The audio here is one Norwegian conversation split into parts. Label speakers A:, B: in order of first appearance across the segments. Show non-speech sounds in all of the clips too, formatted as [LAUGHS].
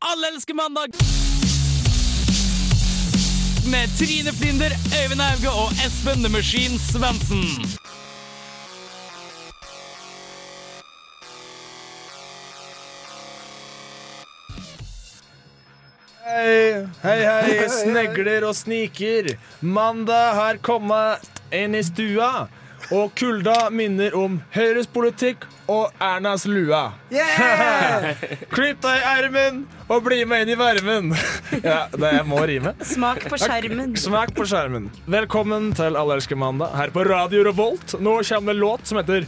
A: Alle elsker mandag! Med Trine Flinder, Øyvind Auge og Espen The Machine Svendsen.
B: Hei, hei, hei, snegler og sniker. Mandag har kommet inn i stua. Og kulda minner om Høyres politikk og Ernas lua. [LAUGHS] Klipp deg i ermen og bli med inn i varmen. [LAUGHS] Ja, det jeg må rime.
C: Smak på skjermen.
B: Smak på skjermen. Velkommen til Allerske mandag her på Radio Revolt. Nå kommer det en låt som heter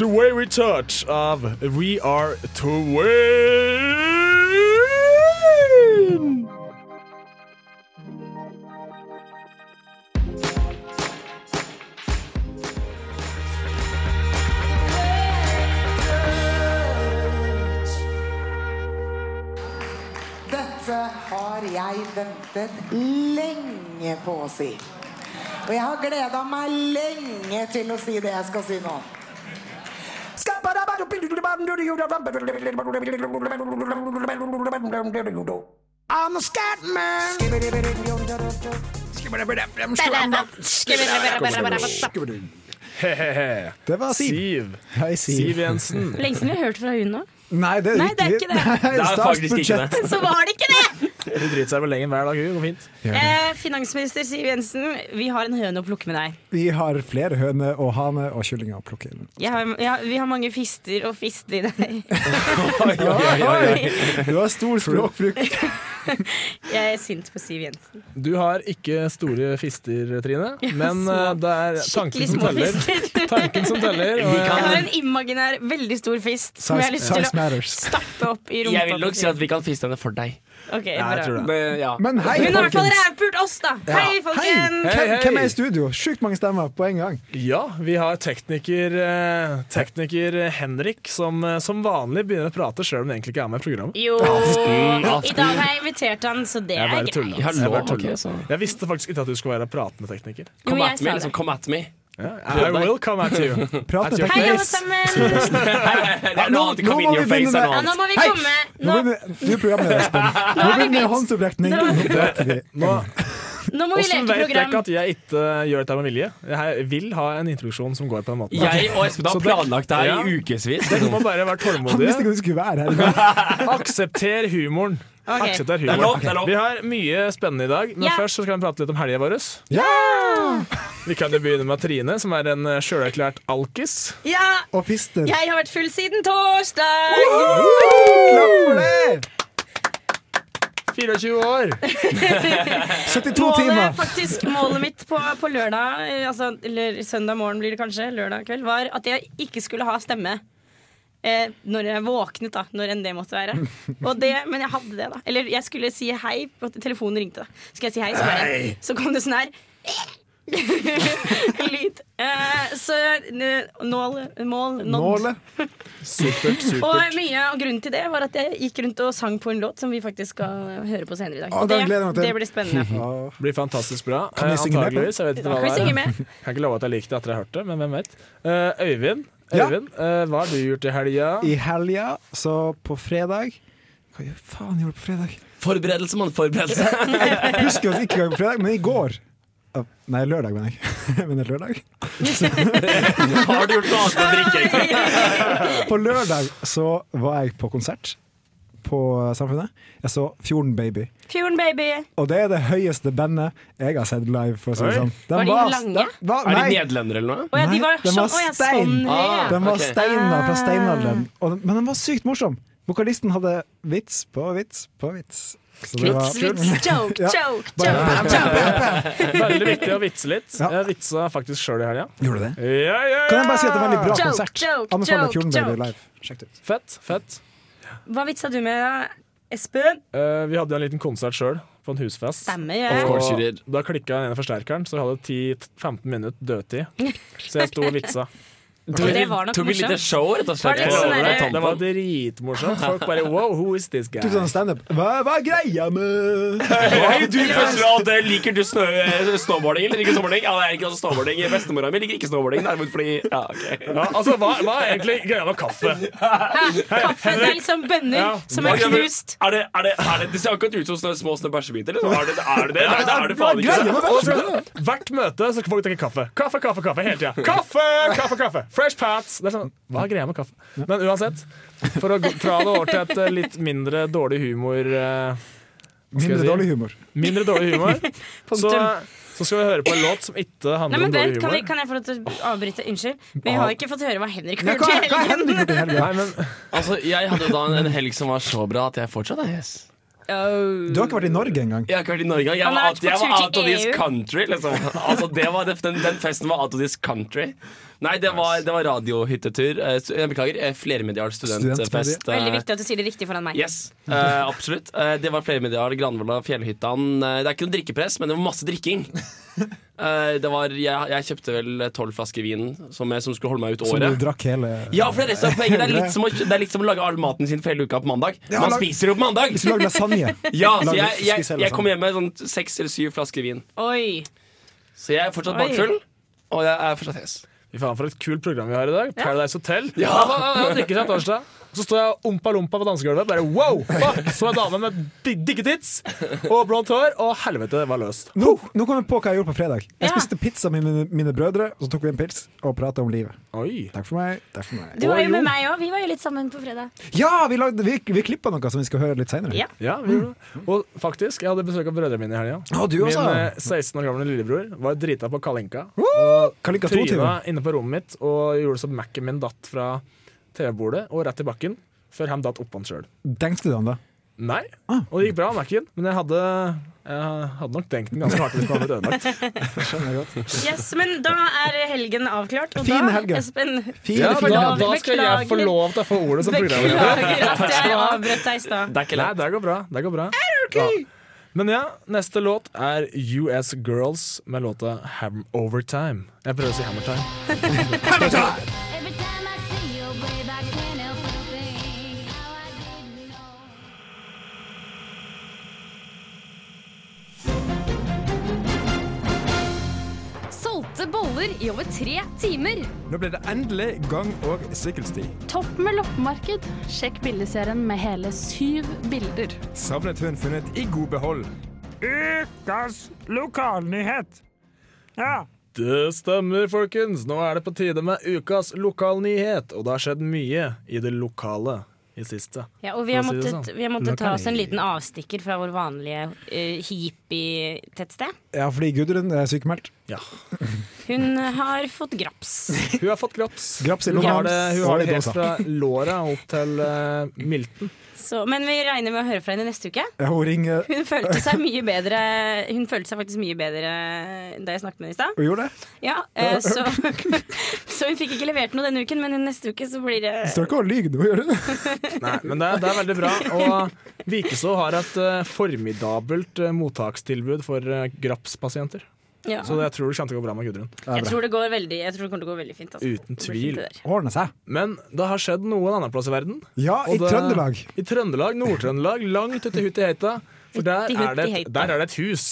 B: The Way We Touch av We Are To Win.
D: Dette har jeg ventet lenge på å si. Og jeg har gleda meg lenge til å si det jeg skal si nå. I'm a scat man.
E: Det var Siv.
B: Siv.
E: Hei, Siv.
B: Siv [LAUGHS] Jensen.
C: Lenge siden vi har hørt fra hun nå.
E: Nei, det,
C: Nei, det er ikke det.
E: Nei,
F: Det er
E: stas
F: faktisk ikke
E: budsjett.
F: det.
C: Så var det ikke det!
B: Hun driter seg vel lenger hver dag. Hun går fint.
C: Eh, finansminister Siv Jensen, vi har en høne å plukke med deg.
E: Vi har flere høner og haner og kyllinger å plukke inn.
C: Jeg har, jeg har, vi har mange fister og fister i deg.
E: Du har stor språkbruk.
C: Jeg er sint på Siv Jensen.
B: Du har ikke store fister, Trine, men
C: små.
B: eh, det er tanken
C: Skikkelig
B: som
C: små
B: teller. [LAUGHS]
C: fister.
B: Tanken som teller. Og eh,
F: Vi
C: Jeg har
B: jeg,
C: en imaginær, veldig stor fist som jeg har
E: Size,
C: lyst til
E: size
C: å
E: matters.
C: stappe opp i rumpa.
F: Jeg vil nok
C: på
F: si at vi kan fiste henne for deg.
C: Siv. Ok,
B: Ja, jeg
C: bra.
B: tror det.
F: Det, ja.
E: Men hei,
C: Hun har i hvert fall
E: folkens.
C: rævpult oss, da! Hei,
E: Hei.
C: folkens!
B: Hei,
E: Hvem,
B: hei.
E: hvem er i studio? Sjukt mange stemmer på en gang.
B: ja, vi har tekniker, eh, tekniker Henrik som eh, som vanlig begynner å prate sjøl om han egentlig ikke er med i programmet.
C: Jo, i
F: aften.
C: dag har jeg invitert han, så det
B: Jeg
C: er
B: bare
C: greit.
B: tuller.
F: Jeg har lov,
B: bare tuller.
F: ok, så-
B: Jeg visste faktisk ikke at du skulle være pratende tekniker.
C: Jo,
F: Come
C: jeg
F: at
C: sa
F: me,
C: det.
F: liksom. Come at me.
B: Ja, I will come at [LAUGHS] you.
E: Prat med
B: Hei,
C: Hei, alle
E: teknikk.
C: sammen!
F: [LAUGHS] Det er noe
E: nå-
F: annet.
E: nå må
F: Come in your
E: vi
F: face
E: begynne
F: er
E: med-
F: noe
C: Ja, nå
F: annet.
C: må vi komme.
E: Nå
C: Nå,
E: begynner, du er programleder, Espen. Nå
C: har vi
E: begynner
C: begynt.
E: håndsopprekning.
C: Nå-
E: Nå prater vi.
B: Nå,
C: nå må vi
B: hvordan
C: leke
B: vet jeg
C: program.
B: ikke at jeg ikke eh, gjør dette med vilje? Jeg vil ha en introduksjon som går på den måten.
F: Jeg og Espen har planlagt det
B: Ja.
F: her i ukevis.
B: Dere må bare være
E: Han
B: tålmodige.
E: visste ikke du skulle være her. Men
B: Aksepter humoren.
C: Ok.
B: Aksepter
F: Det er lov,
B: humoren.
F: det er lov.
B: Vi har mye spennende i dag, men
C: Ja.
B: først så skal vi prate litt om helga vår.
E: Ja!
B: Vi kan jo begynne med Trine, som er en eh, sjølerklært alkis.
C: Ja,
E: Og fister.
C: jeg har vært full siden torsdag!
E: Klapp for det!
B: 24 år.
E: 72
C: Målet,
E: timer.
C: faktisk, målet mitt på, på lørdag, eh, altså, eller søndag morgen blir det kanskje, lørdag kveld, var at jeg ikke skulle ha stemme. Eh, når jeg våknet, da. Når enn det måtte være. Og det, men jeg hadde det, da. Eller jeg skulle si hei, og telefonen ringte. da Skal jeg si hei, så, bare, så kom det sånn her [LAUGHS] Lyd. Eh, så eh, nål, mål, nådd.
E: Nåle.
C: [LAUGHS]
B: Supert,
C: Og
B: supert.
C: mye av grunnen til det var at jeg gikk rundt og sang på en låt som vi faktisk skal høre på senere i dag.
E: Å, den gleder jeg meg til.
C: det blir
E: [LAUGHS]
C: spennende.
E: Åh.
B: Blir fantastisk bra.
E: Kan vi
B: Eh,
E: synge med?
B: Antageligvis. Jeg vet ikke
C: Da kan vi
B: hva det
C: synge
B: er.
C: med.
B: Kan ikke love at jeg liker det etter jeg har hørt det, men hvem vet. Eh, Øyvind,
E: Ja.
B: Øyvind eh, hva har du gjort i helga?
E: I helga, så på fredag Hva gjør- faen gjorde jeg på fredag?
F: Forberedelse, mann. Forberedelse.
E: Jeg husker jo ikke engang på fredag, men i går Å, Nei, lørdag, mener jeg. [LAUGHS] Men det er lørdag.
F: Har du gjort noe annet enn å drikke?
E: På lørdag så var jeg på konsert på Samfunnet. Jeg så Fjorden Baby.
C: Fjorden Baby.
E: Og det er det høyeste bandet jeg har sett live. For å si det
B: Oi.
E: sånn. Den
C: Var de
E: var-
C: lange?
E: den var-
F: Er de
E: nei,
F: nederlendere eller noe?
C: Å ja, de
E: Nei,
C: var sånn,
E: den var
C: å, ja,
E: stein.
C: sånn
F: Ah.
C: høye.
E: den var
F: Ok.
E: steiner fra
C: Ah.
E: steinalderen. Og den, men den var sykt morsom. Vokalisten hadde vits på vits på vits. Så det var-
C: Vits, vits, joke,
E: Ja.
C: joke,
E: Bare-
C: joke. joke.
B: Veldig viktig å vitse litt.
E: Ja.
B: Jeg vitsa faktisk sjøl i helga.
E: Gjorde det?
B: Ja, ja, ja.
E: Kan jeg bare si at det var en veldig bra
C: Joke,
E: konsert?
C: joke,
E: Anbefaler
C: joke,
E: Fjorden Baby
C: joke.
E: live. Sjekk det ut.
B: Fett. fett.
C: Hva vitsa du med, da, Espen?
B: Eh, vi hadde jo en liten konsert sjøl, på en husfest.
C: Stemmer,
F: Of
C: jeg.
F: course you did.
B: da klikka den ene forsterkeren, så vi hadde 10-15 minutter dødtid. Så jeg sto og vitsa.
F: Tok
C: Og det
F: vi-
C: var nok
F: Tok vi
C: morsomt.
F: litt show, rett
C: Var
F: og slett?
C: [LAUGHS] det litt
F: for å
C: sånn
F: holde
C: der-
F: tampen.
B: Det var dritmorsomt. Folk bare Wow, who is this guy?
E: Tok sånn standup. Hva, hva er greia med
F: Hei, du, først og fremst, liker du snø, snowboarding eller ikke snowboarding? Ja, jeg liker også snowboarding. Bestemora mi liker ikke snowboarding. Derimot fordi Ja, ok.
B: Ja, altså, hva, hva er egentlig greia med kaffe?
C: Kaffe, det er liksom bønner som er knust.
F: Er det, er det, er det, det ser akkurat ut som sånne små snøbæsjebiter. Liksom. Er det er det? det? Nei, det er det faen ikke.
E: greia
F: sant?
B: Og
E: med bæsj?
B: så, Altså, hvert møte så skal folk drikke kaffe. Kaffe, kaffe, kaffe hele tida. Kaffe, kaffe, kaffe. Fresh pats. Det er sånn, Hva er greia med kaffe? Men uansett, for å gå fra det over til et eh, litt mindre dårlig humor eh, jeg
E: Mindre
B: si?
E: dårlig humor.
B: Mindre dårlig humor, så,
C: Punktum.
B: så skal vi høre på en låt som ikke
C: Nei,
B: handler
C: men
B: om
C: vent,
B: dårlig
C: kan, jeg,
B: humor.
C: kan jeg få lov til å avbryte? Unnskyld. Men jeg har ikke fått høre hva Henrik
E: Hva,
C: har
E: hva
C: gjort i
E: er
C: helgen.
E: Henrik gjort i helga?
B: Nei, men
G: Altså, jeg hadde jo da en, en helg som var så bra at jeg fortsatt er yes.
C: Oh.
E: Du har ikke vært i Norge engang.
F: Jeg har ikke vært i Norge. Jeg
C: Han
F: var
C: har
F: out,
C: vært på
F: jeg var
C: tur til
F: out of this
C: EU.
F: country. Liksom. Altså, det var, den, den festen var out of this country. Nei, det var, det var radiohyttetur. Eh, Jeg beklager. eh, Flermedial
E: Studentmedie.
F: studentfest. eh,
C: Veldig viktig at du sier det riktig foran meg.
F: Yes, eh, absolutt. Eh, det var flermedial, Granvolla, Fjellhyttan. Eh, det er ikke noe drikkepress, men det var masse
E: [LAUGHS]
F: drikking. Eh, det var, jeg, jeg kjøpte vel tolv flasker vin som, jeg, som skulle holde meg ut
E: Som du
F: året.
E: drakk hele
F: Ja, for det er, resten av poenget. det, er litt som å, det er litt som å lage all maten sin for hele uka på mandag.
E: Ja,
F: Man
E: lag-
F: spiser jo på mandag!
E: Hvis du lagde lasagne.
F: Ja, så
E: Lage
F: jeg, jeg,
E: fiskesel og
F: jeg
E: sånn.
F: kom hjem med sånn seks eller syv flasker vin.
C: Oi.
F: Så jeg er fortsatt
C: Oi.
F: bakfull. Og jeg er fortsatt hes.
B: Fy faen, for et kult program vi har i dag. Paradise Hotel.
F: Ja.
B: Ja, ja, ja, drikker seg torsdag. Så står jeg ompa-lompa på dansegulvet. Bare wow, fuck! Så en dame med di- digge tits og blondt hår. Og helvete, det var løst.
E: Nå, nå kom jeg på hva jeg gjorde på fredag. Jeg
C: Ja.
E: spiste pizza med mine, mine brødre, og så tok vi en pils og prata om livet.
B: Oi.
E: Takk for meg. Takk for meg.
C: Du var
B: Å,
C: jo
B: jo.
C: med meg òg. Vi var jo litt sammen på fredag.
E: Ja, vi, lagde, vi, vi klippa noe som vi skal høre litt seinere.
C: Ja.
B: Ja, vi gjorde det. Og faktisk, jeg hadde besøk av brødrene mine i helga.
E: Å, Mm. du
B: Min
E: også?
B: eh, 16 år gamle lillebror var drita på Kalinka.
E: Kalinka to
B: Tryna
E: timer.
B: inne på rommet mitt og gjorde så Mac-en min datt fra TV-bordet og rett i bakken. Før han datt oppå han sjøl.
E: Tenkte du han da?
B: Nei.
E: Ah.
B: Og det gikk bra, Mac-en, men jeg hadde, jeg hadde nok tenkt den ganske hardt hvis den hadde blitt ødelagt.
E: Skjønner jeg godt.
C: Yes, men da er helgen avklart. Og
E: Fin
C: da,
E: helge.
C: Espen,
E: Fire,
B: Ja,
E: fire
B: da,
E: hender.
B: da skal jeg få
C: Beklager.
B: lov til å få ordet som programleder.
C: beklager at jeg avbrøt deg i stad.
F: Det er ikke
B: Nei,
F: lett.
B: det går bra. Det går bra. Ja. Men ja, neste låt er US Girls med låta Ham Overtime. Jeg prøver å si Hammertime.
H: Every time I see you, babe, I can't help but think how I didn't know.
I: Solgte boller i over tre timer.
J: Nå ble det endelig gang- og sykkelsti.
I: Topp med loppemarked. Sjekk bildeserien med hele syv bilder.
J: Savnet hun funnet i god behold.
B: Det stemmer, folkens. Nå er det på tide med ukas lokalnyhet. Og det har skjedd mye i det lokale i siste.
C: Ja, og vi har
B: For å si det
C: måttet,
B: sånn.
C: vi har måttet ta oss en liten avstikker fra vår vanlige eh, hippie-tettsted.
E: Ja, fordi Gudrun er sykemeldt.
B: Ja.
C: Hun har fått graps.
B: [LAUGHS] Hun har fått graps.
E: Graps i altså.
B: Hun
E: lomma.
B: har det, hun har
E: Og i
B: det helt
E: dåsa.
B: fra låra opp til eh, milten.
C: Så, men vi regner med å høre fra henne neste uke.
E: Ja, Hun ringer
C: Hun følte seg mye bedre Hun følte seg faktisk mye bedre da jeg snakket med henne i stad.
E: Hun gjorde det?
C: Ja,
B: [LAUGHS]
C: eh, så, så hun fikk ikke levert noe denne uken, men neste uke så blir det
E: Står ikke og lyver nå, gjør du det?
B: Nei, men det, er- det er veldig bra. Og Vikeså har et eh, formidabelt eh, mottakstilbud for eh, grapspasienter.
C: ja.
B: Så jeg tror det kommer til å gå bra med Gudrun.
C: Jeg tror det går veldig Jeg tror det kommer til å gå veldig fint. Altså.
B: Uten
C: Det blir fint,
B: tvil.
C: det der.
E: Ordner seg.
B: Men det har skjedd noe en annen plass i verden.
E: Ja,
B: Og
E: i
B: det-
E: Trøndelag.
B: I Trøndelag, Nord-Trøndelag, langt uti hutti heita. For der
C: Uti
B: er, det et,
C: hutti heita.
B: der er det et hus.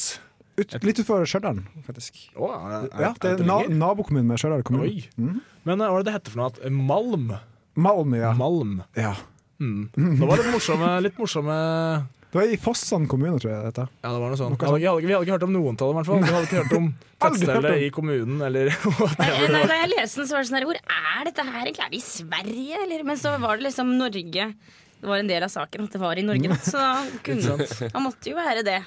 E: Ut, litt utenfor Stjørdal, faktisk.
B: Å, er, er,
E: Ja,
B: er
E: det er
B: det
E: na
B: lenger?
E: nabokommunen med Stjørdal kommune.
B: Oi. Men eh, hva er det det heter for noe? At- Malm.
E: Malm, ja.
B: Malm.
E: ja.
B: Det var litt morsomme, litt morsomme
E: Det var i Forsand kommune, tror jeg. dette
B: Ja, det var noe sånt.
E: Noe
B: Vi hadde, vi hadde, vi hadde ikke hørt om noen tall, i hvert fall. Vi hadde ikke hørt om
E: Aldri hørt om.
B: tettstedet i kommunen eller [LAUGHS]
C: Nei, nei, da jeg leste den, så var det sånn her Hvor er dette her egentlig? Er det i Sverige, eller? Men så var det liksom Norge. Det var en del av saken at det var i Norge, da. så
B: [LAUGHS]
C: da kunne Han måtte jo være det.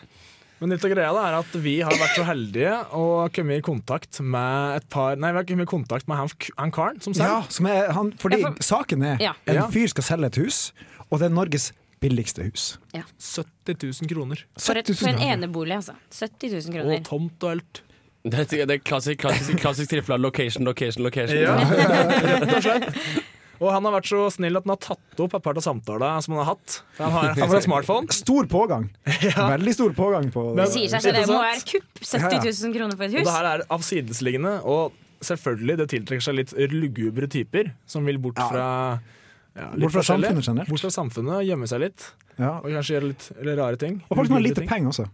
B: Men litt av greia da er at vi har vært så heldige og kommet i kontakt med et par Nei, vi har kommet i kontakt med han, han karen som sang.
E: Ja, som er, han, fordi
C: Ja, for-
E: saken er
C: Ja.
E: en
B: Sånn? Ja.
E: fyr skal selge et hus, og det er Norges billigste hus.
B: 70 000 kroner.
C: For, et,
E: 70 000
C: for en
E: kroner.
C: enebolig, altså. 70 000
B: Og
C: kroner.
B: tomt og alt.
F: Det er, det er klassisk, klassisk, klassisk tilfelle av location, location, location.
B: Og han har vært så snill at han har tatt opp et par av samtalene som han har hatt. For Han har, han har en smartphone.
E: Stor pågang.
B: [LAUGHS]
E: Veldig stor pågang på
C: Det sier seg selv, det må være kupp. 70 000 kroner for et
B: Og det
C: hus.
B: her er avsidesliggende og selvfølgelig det tiltrekker seg litt lugubre typer som vil bort
E: Ja.
B: fra ja, litt
E: Bort fra
B: forskjellig.
E: samfunnet generelt.
B: Bort fra samfunnet og gjemme seg litt.
E: Ja.
B: Og kanskje gjøre litt eller rare ting.
E: Og folk som har
B: Lugubre
E: lite
B: ting.
E: penger også.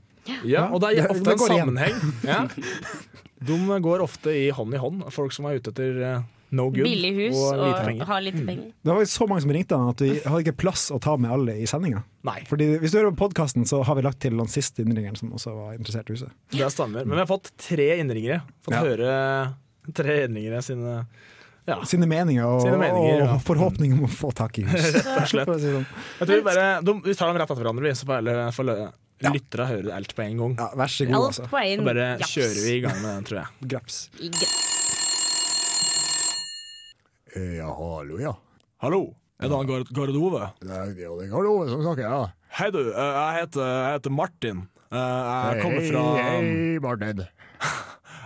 B: Ja, og det
E: Ja,
B: er ofte
E: det
B: en
E: går igjen.
B: sammenheng.
E: [LAUGHS]
B: Ja. De går ofte i hånd i hånd, folk som er ute etter eh, no good
C: Billig hus
B: og
C: og,
B: lite penger. Mm.
C: ha lite penger.
E: Det var så mange som ringte han at vi hadde ikke plass å ta med alle i sendinga.
B: Nei.
E: Fordi hvis du hører på podkasten, så har vi lagt til han siste innringeren som også var interessert i huset.
B: Det stemmer. Men vi har fått tre innringere. Fått
E: Ja.
B: høre tre innringere sine ja,
E: Sine meninger og,
B: Sine meninger, ja.
E: og forhåpning om å få tak i hus.
B: rett og slett.
E: For å si det sånn.
B: Jeg tror vi, bare, de, vi tar dem rett etter hverandre, vi, så får alle får lø- lyttere høre alt på en gang.
E: Ja, vær så god,
C: Alt
E: altså.
C: på en
B: Så bare
C: japs.
B: kjører vi i gang med den, tror jeg.
E: Graps.
K: Eh, Ja, hallo, ja.
B: [LAUGHS] Hallo, er det han Gard Ove?
K: Det er det er Karl Ove som snakker, ja.
B: Hei, du. eh, Jeg heter, Martin. Eh, Jeg um,
K: Hei, hei, Martin.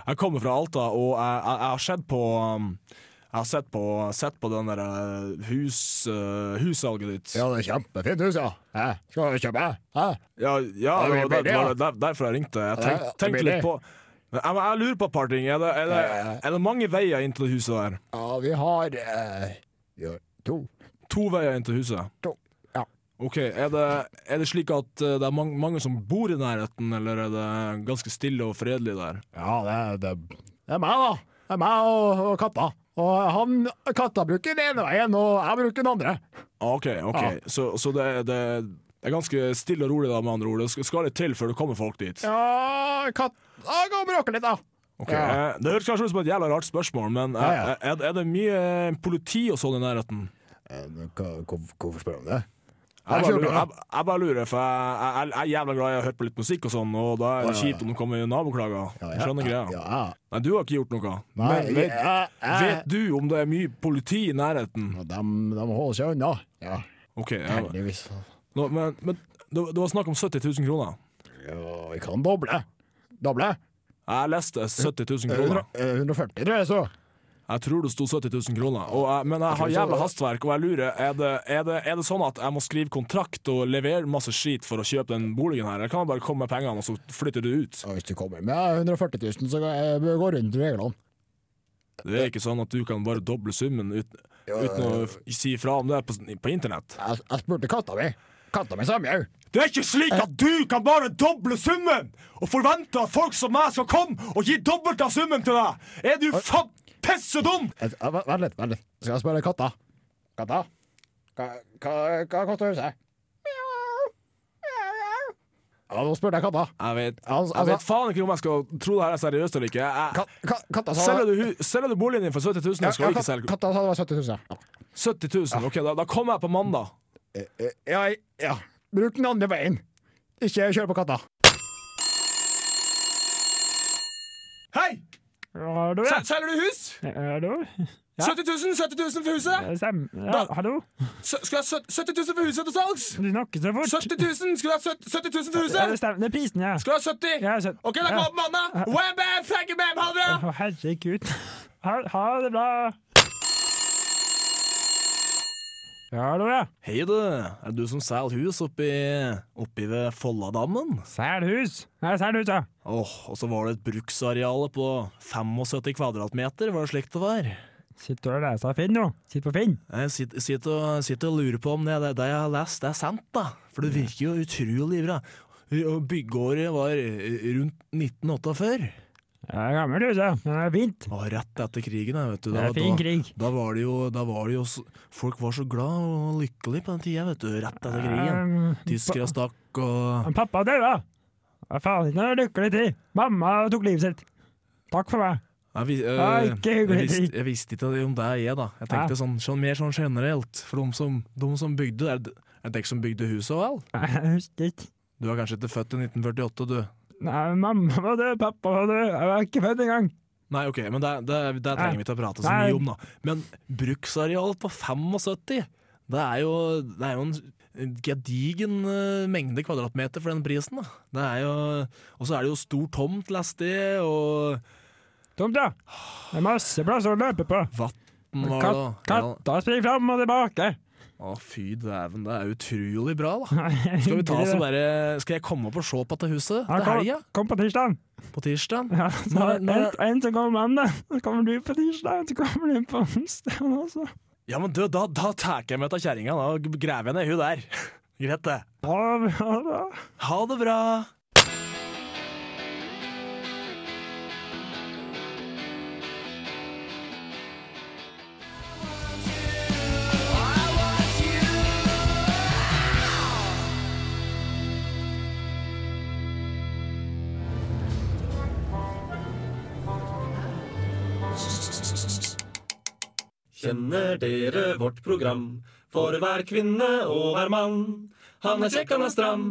B: Jeg kommer fra Alta, og jeg, jeg, jeg har sett på um, Jeg har sett på, sett på den der uh, hus, uh, hussalget ditt.
K: Ja, det er kjempefint hus, ja. Hæ? Skal du kjøpe? Hæ?
B: ja, ja,
K: Ja,
B: det
K: det
B: var,
K: blir
B: der,
K: det, ja.
B: var det der, derfor jeg ringte. Jeg tenk,
K: Ja, det
B: tenkte
K: blir
B: litt
K: det.
B: på Men jeg, jeg lurer på et par ting. Er det, er det, er det mange veier inn til det huset der?
K: Ja, vi har eh, vi har to.
B: To veier inn til huset?
K: To, ja.
B: OK. Er det, er det slik at uh, det er mange, mange som bor i nærheten, eller er det ganske stille og fredelig der?
K: Ja, det, er- det, er- det er meg, da. Det er meg og, og katta. Og han, katta bruker den ene veien, og jeg bruker den andre.
B: Ah, OK. ok
K: Ja.
B: Så, så det, det er ganske stille og rolig, da, med andre ord. Det skal- skal litt til før det kommer folk dit.
K: Ja, katta går og bråker litt, da.
B: Ok,
K: Ja.
B: eh, Det høres kanskje ut som et jævla rart spørsmål, men eh,
K: Ja, ja.
B: Er, er det mye eh, politi og sånn i nærheten?
K: Eh, hva- hvor- Hvorfor spør du om det?
B: Jeg
K: Jeg
B: bare
K: skjønner
B: lurer,
K: det.
B: jeg, jeg bare lurer for jeg, jeg, jeg er jævla glad i å høre på litt musikk og sånn, og da er det
K: Ja, ja, ja.
B: kjipt om det kommer naboklager.
K: Ja,
B: Jeg
K: ja,
B: Skjønner
K: ja,
B: greia.
K: ja.
B: Nei, du har ikke gjort noe.
K: Nei,
B: men vet,
K: jeg- jeg-
B: vet du om det er mye politi i nærheten?
K: Og De, de holder seg unna. Ja,
B: OK. Ja.
K: heldigvis.
B: Nå, men men det, det var snakk om 70 000 kroner.
K: Ja, vi kan doble. Doble?
B: Jeg leste 70 000
K: 100,
B: kroner.
K: eh, 140, tror jeg så.
B: Jeg tror det sto 70 000 kroner. Og jeg, men jeg har
K: tror så-
B: jævla hastverk, og jeg lurer er det, er, det, er det sånn at jeg må skrive kontrakt og levere masse skit for å kjøpe den boligen her? Eller kan jeg bare komme med pengene, og så flytter det ut?
K: Og hvis du kommer med 140 000, så går jeg bør gå rundt reglene.
B: Det er ikke sånn at du kan bare doble summen ut, uten å f- si ifra om det på, s- på internett?
K: Jeg, jeg spurte katta mi. Katta mi sa mjau.
B: Det er ikke slik at du kan bare doble summen og forvente at folk som meg skal komme og gi dobbelt av summen til deg! Er du faen pisse dum?!
K: Jeg- jeg- Vent vent litt, vent litt. Skal jeg spørre katta? Katta? Hva, hva, hva koster huset? Ja, nå spurte jeg katta.
B: Jeg vet,
K: Altså,
B: jeg vet
K: altså,
B: faen ikke om jeg skal tro det her er seriøst eller ikke. Jeg,
K: ka, ka, katta sa
B: Selger du, hu- selger du boligen din for 70 000?
K: Ja,
B: Jeg skal
K: ja,
B: ikke
K: kat-
B: selge.
K: Katta sa det var 70 000. Ja.
B: 70 000, ok, da, da kommer jeg på mandag.
K: Eh, Ja, ja. Bruk den andre veien. Ikke kjør på katta.
B: Hei! Sel- Selger du hus?
H: Hallo?
B: 70 000, 70 000 for huset?
H: Sam, ja,
B: Da-
H: hallo?
B: S skal jeg ha sø- 70 000 for huset til salgs?
H: Du snakker så fort.
B: 70 000, skal du ha sø- 70 000 for
H: Ja, det
B: huset?
H: stemmer. Det er prisen, ja.
B: Skal du ha 70?
H: Ja, så-
B: Ok, da kommer jeg på mandag. Wham, bam, flagge, bam, ha det bra!
H: Å, herregud. Ha, ha det bra. Ja, hallo, ja.
B: Hei du, er du som selger hus oppi, oppi ved Folladammen?
H: Selhus. Nei, selhus, ja.
B: Åh, og så var det et bruksareale på 75 kvadratmeter, var det slik det var?
H: Sitter du og leser Finn nå? Sitter på Finn?
B: Jeg sitter, sitter, og, sitter og lurer på om det, det jeg har lest, det er sant, da. For det virker jo utrolig bra. Og Byggeåret var eh, rundt 1948.
H: Ja, det er gammelt hus, ja. Men det er fint.
B: Og rett etter krigen, da, vet du.
H: Det er fin krig.
B: Da, da var det jo, da var det jo s- Folk var så glad og lykkelige på den tida, vet du. Rett etter krigen.
H: Um,
B: Tyskere stakk og
H: Men pappa døde. Hva faen ikke noe lykkelig tid. Mamma tok livet sitt. Takk for meg.
B: Jeg, vis, eh,
H: Ja, ikke hyggelig
B: jeg,
H: tid.
B: visste, jeg visste ikke om det jeg er, da. Jeg tenkte sånn, sånn, mer sånn generelt. For de som, de som bygde Er det er det dere som bygde huset, vel?
H: Jeg husker ikke.
B: Du er kanskje ikke født i 1948, du?
H: Nei, mamma var død, pappa var død. Jeg var ikke født engang.
B: Nei, ok, men det, det, det trenger vi ikke å prate så
H: Nei.
B: mye om, da. Men bruksareal på 75, det er jo, det er jo en en gedigen eh, mengde kvadratmeter for den prisen, da. Det er jo Og så er det jo stor tomt til SD, og
H: Tomt, ja. Det er masse plass å løpe på.
B: vann var det,
H: Kat
B: da. Ja.
H: katta springer fram og tilbake.
B: Å, fy dæven, det er utrolig bra, da. Skal vi ta så bare Skal jeg komme opp og se på dette huset?
K: Ja,
B: Det er
K: kom,
B: helga.
K: kom på tirsdag.
B: På tirsdag?
K: Ja, så
B: Når-
K: er det en,
B: når-
K: en som kommer på mandag, så kommer du på tirsdag, og så kommer du på onsdag også.
B: Ja, men du, da, da tar jeg meg av kjerringa. Da graver jeg ned hun der. [LAUGHS] Greit, det.
K: Ha det bra.
B: Ha det bra.
L: Kjenner dere vårt program for hver kvinne og hver mann? Han er kjekk, han er stram.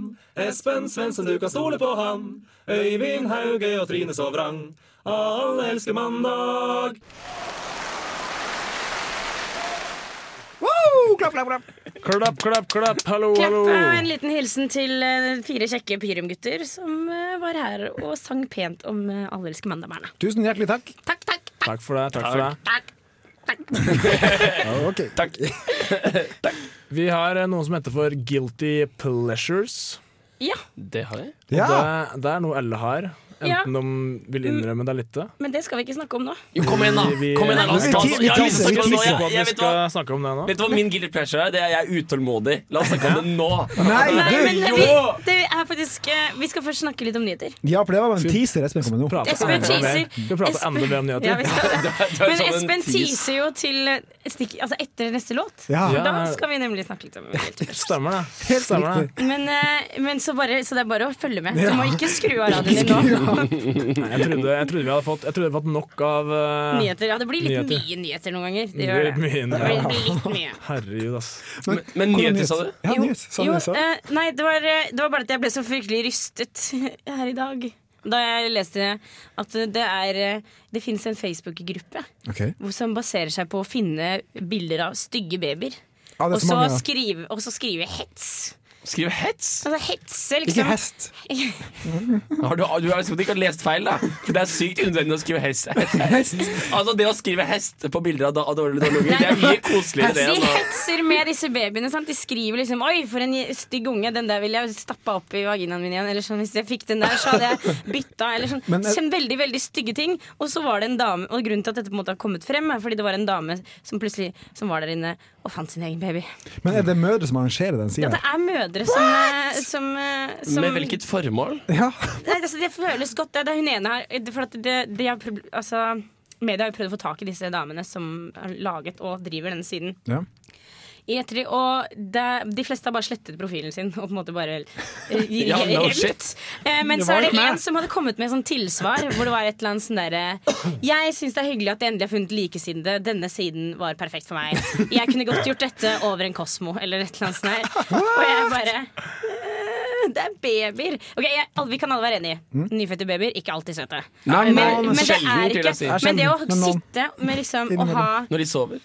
L: Espen Svendsen, du kan stole på han. Øyvind Hauge og Trine Sovrang. Alle elsker mandag.
B: Woo! Klapp, klapp, klapp. Klapp, klapp, klapp. Hallo, hallo.
C: Klepp, eh, en liten hilsen til eh, fire kjekke Pyrum-gutter som eh, var her og sang pent om eh, Alle elsker mandagbærene.
E: Tusen hjertelig takk.
B: Takk for det. Takk, for det.
E: Takk.
B: Vi har eh, noe som heter for Guilty Pleasures.
C: Ja,
F: Det har jeg.
B: Og det, det er noe alle har, enten
C: Ja.
B: de vil innrømme det eller ikke.
C: men det skal vi ikke snakke om nå.
F: Jo, kom igjen, da!
B: Vi-
F: Kom igjen, da. La oss ta
B: Vi- vi-
F: Jeg har lyst til å snakke om
B: vi-
F: det nå. Jeg- jeg
B: vi
F: vet hva-
B: skal snakke om det nå.
F: Vet du hva min guilty pleasure er? Det er Jeg er utålmodig. La oss snakke om det nå.
C: men vi,
F: Jo!
C: det er faktisk, eh, vi skal først snakke litt om nyheter.
E: Ja, for det var bare en teaser Espen kom med nå.
C: Espen teaser. Espen- Ja, vi skal det.
F: sånn
C: Men Espen teaser jo til eh, stikk, altså etter neste låt.
B: Ja.
C: Da
B: Ja.
C: skal vi nemlig snakke litt om
B: Stemmer det. Stemmer det.
C: Men, eh, men så, bare, så det er bare å følge med. Du
B: Ja.
C: må ikke skru av radioen din nå.
B: Nei, jeg, trodde, jeg trodde vi hadde fått, jeg trodde vi hadde fått nok av eh,
C: Nyheter. Ja, det blir litt
B: nyheter.
C: mye nyheter noen ganger. Det
B: Det
C: gjør
B: blir
C: det.
B: mye
C: Det blir, blir litt mye.
B: Herregud, ass.
F: Men, men nyheter, sa du?
E: Ja, nyhet. Sa
C: Jo,
E: du sånn det, sa du?
C: eh, nei, det var, eh, det var bare at jeg ble så fryktelig rystet her i dag. Da jeg leste at det er eh, Det fins en Facebook-gruppe
E: Ok.
C: hvor- som baserer seg på å finne bilder av stygge babyer.
E: Ja, det er
C: og,
E: så mange,
C: så
E: ja.
C: skrive, og så skrive hets.
F: Skriv hets?
C: Altså hetse, liksom.
F: Ikke hest. Har du, du har sikkert ikke lest feil, da. For det er sykt unødvendig å skrive
C: [LAUGHS]
F: hest. hest. Altså, det å skrive hest på bilder av da- av dårlig dårlig det er mye koseligere det.
C: De
F: enn å-
C: hetser med disse babyene. Sant? De skriver liksom 'oi, for en stygg unge', den der ville jeg stappa opp i vaginaen min igjen. Eller sånn, hvis jeg fikk den der, så hadde jeg bytta. Eller sånn.
I: Men, eh,
C: sånn veldig, veldig stygge ting. Og så var det en dame Og grunnen til at dette på en måte har kommet frem, er fordi det var en dame som plutselig som var der inne og fant sin egen baby.
E: Men er det mødre som arrangerer den
C: Ja,
E: sida?
C: det er mødre som, eh, som, eh, som
F: Med hvilket formål?
C: Nei, altså, det føles godt. Det er det hun ene her. For at det, det har proble- altså, media har jo prøvd å få tak i disse damene som har laget og driver denne siden.
E: Ja.
C: I ettertid, E og det, De fleste har bare slettet profilen sin og på en måte bare
F: [LAUGHS] Ja, no shit.
C: Eh, men
F: Det
C: så
F: var
C: er
F: ikke
C: det
F: meg.
C: en som hadde kommet med sånn tilsvar, hvor det var et eller annet sånn derre Jeg syns det er hyggelig at de endelig har funnet likesinnede. Denne siden var perfekt for meg. Jeg kunne godt gjort dette over en Kosmo, eller et eller annet sånt her. Og jeg bare «Eh, Det er babyer. Ok, jeg, alle- Vi kan alle være enige. Nyfødte babyer, ikke alltid søte.
F: Mm. Nei,
C: men,
F: nei,
C: men, det er
F: sjelden, vil jeg si.
C: ikke, men det å
F: Men noen-
C: sitte med liksom å ha
F: Når de sover.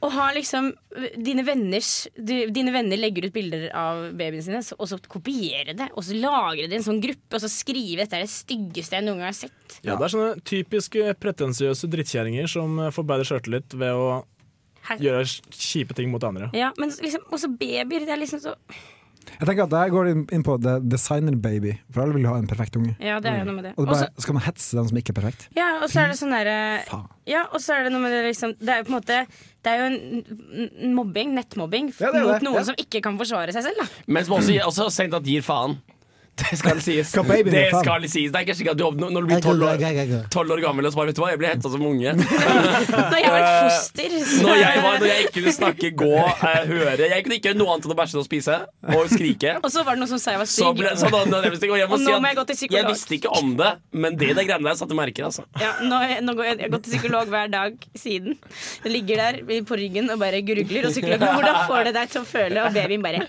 C: å ha liksom dine venners du, Dine venner legger ut bilder av babyene sine, så- og så kopiere det. Og så lagre det i en sånn gruppe, og så skrive dette er det styggeste jeg noen gang har sett.
B: Ja, det er sånne typiske pretensiøse drittkjerringer som eh, forbedrer sjøltillit ved å
C: Her.
B: gjøre kjipe ting mot andre.
C: Ja, men liksom, også babyer. Det er liksom så
E: Jeg tenker at Der går det inn- inn på the designer baby, for alle vil jo ha en perfekt unge.
C: Ja, det er
F: Mm.
C: jo noe med det.
E: Og det
C: Også-
E: bare, skal man hetse den som ikke er perfekt?
C: Ja, og så er det sånn derre Ja, og så er det noe med det liksom Det er jo på en måte Det er jo en n- mobbing, nettmobbing,
F: Ja, det er
C: mot
F: det,
C: noen
F: ja.
C: som ikke kan forsvare seg selv, da.
F: Men som også, også sendt at gir faen. Det skal sies.
E: Skal babyen gi
F: det
E: faen?
F: skal sies. Det er ikke slik at du, når når du blir tolv år, 12 år gammel og så bare Vet du hva, jeg ble henta som unge.
C: Når jeg var
F: [LAUGHS]
C: et foster. så-
F: Når jeg, var, når jeg ikke kunne snakke, gå, eh, høre Jeg kunne ikke gjøre noe annet enn å bæsje og spise og skrike.
C: Og så var det noen som sa jeg var
F: Så
C: stygg.
F: ble, så da, da, jeg visste ikke, og jeg må
C: Og nå
F: si
C: må jeg gå til
F: at jeg
C: psykolog.
F: visste ikke om det, men det der greiene der satte merker. Altså.
C: Ja, nå, nå går jeg, jeg har gått til psykolog hver dag siden. Jeg ligger der på ryggen og bare grugler. Og psykologen hvordan får det deg til å føle? Og babyen bare
F: En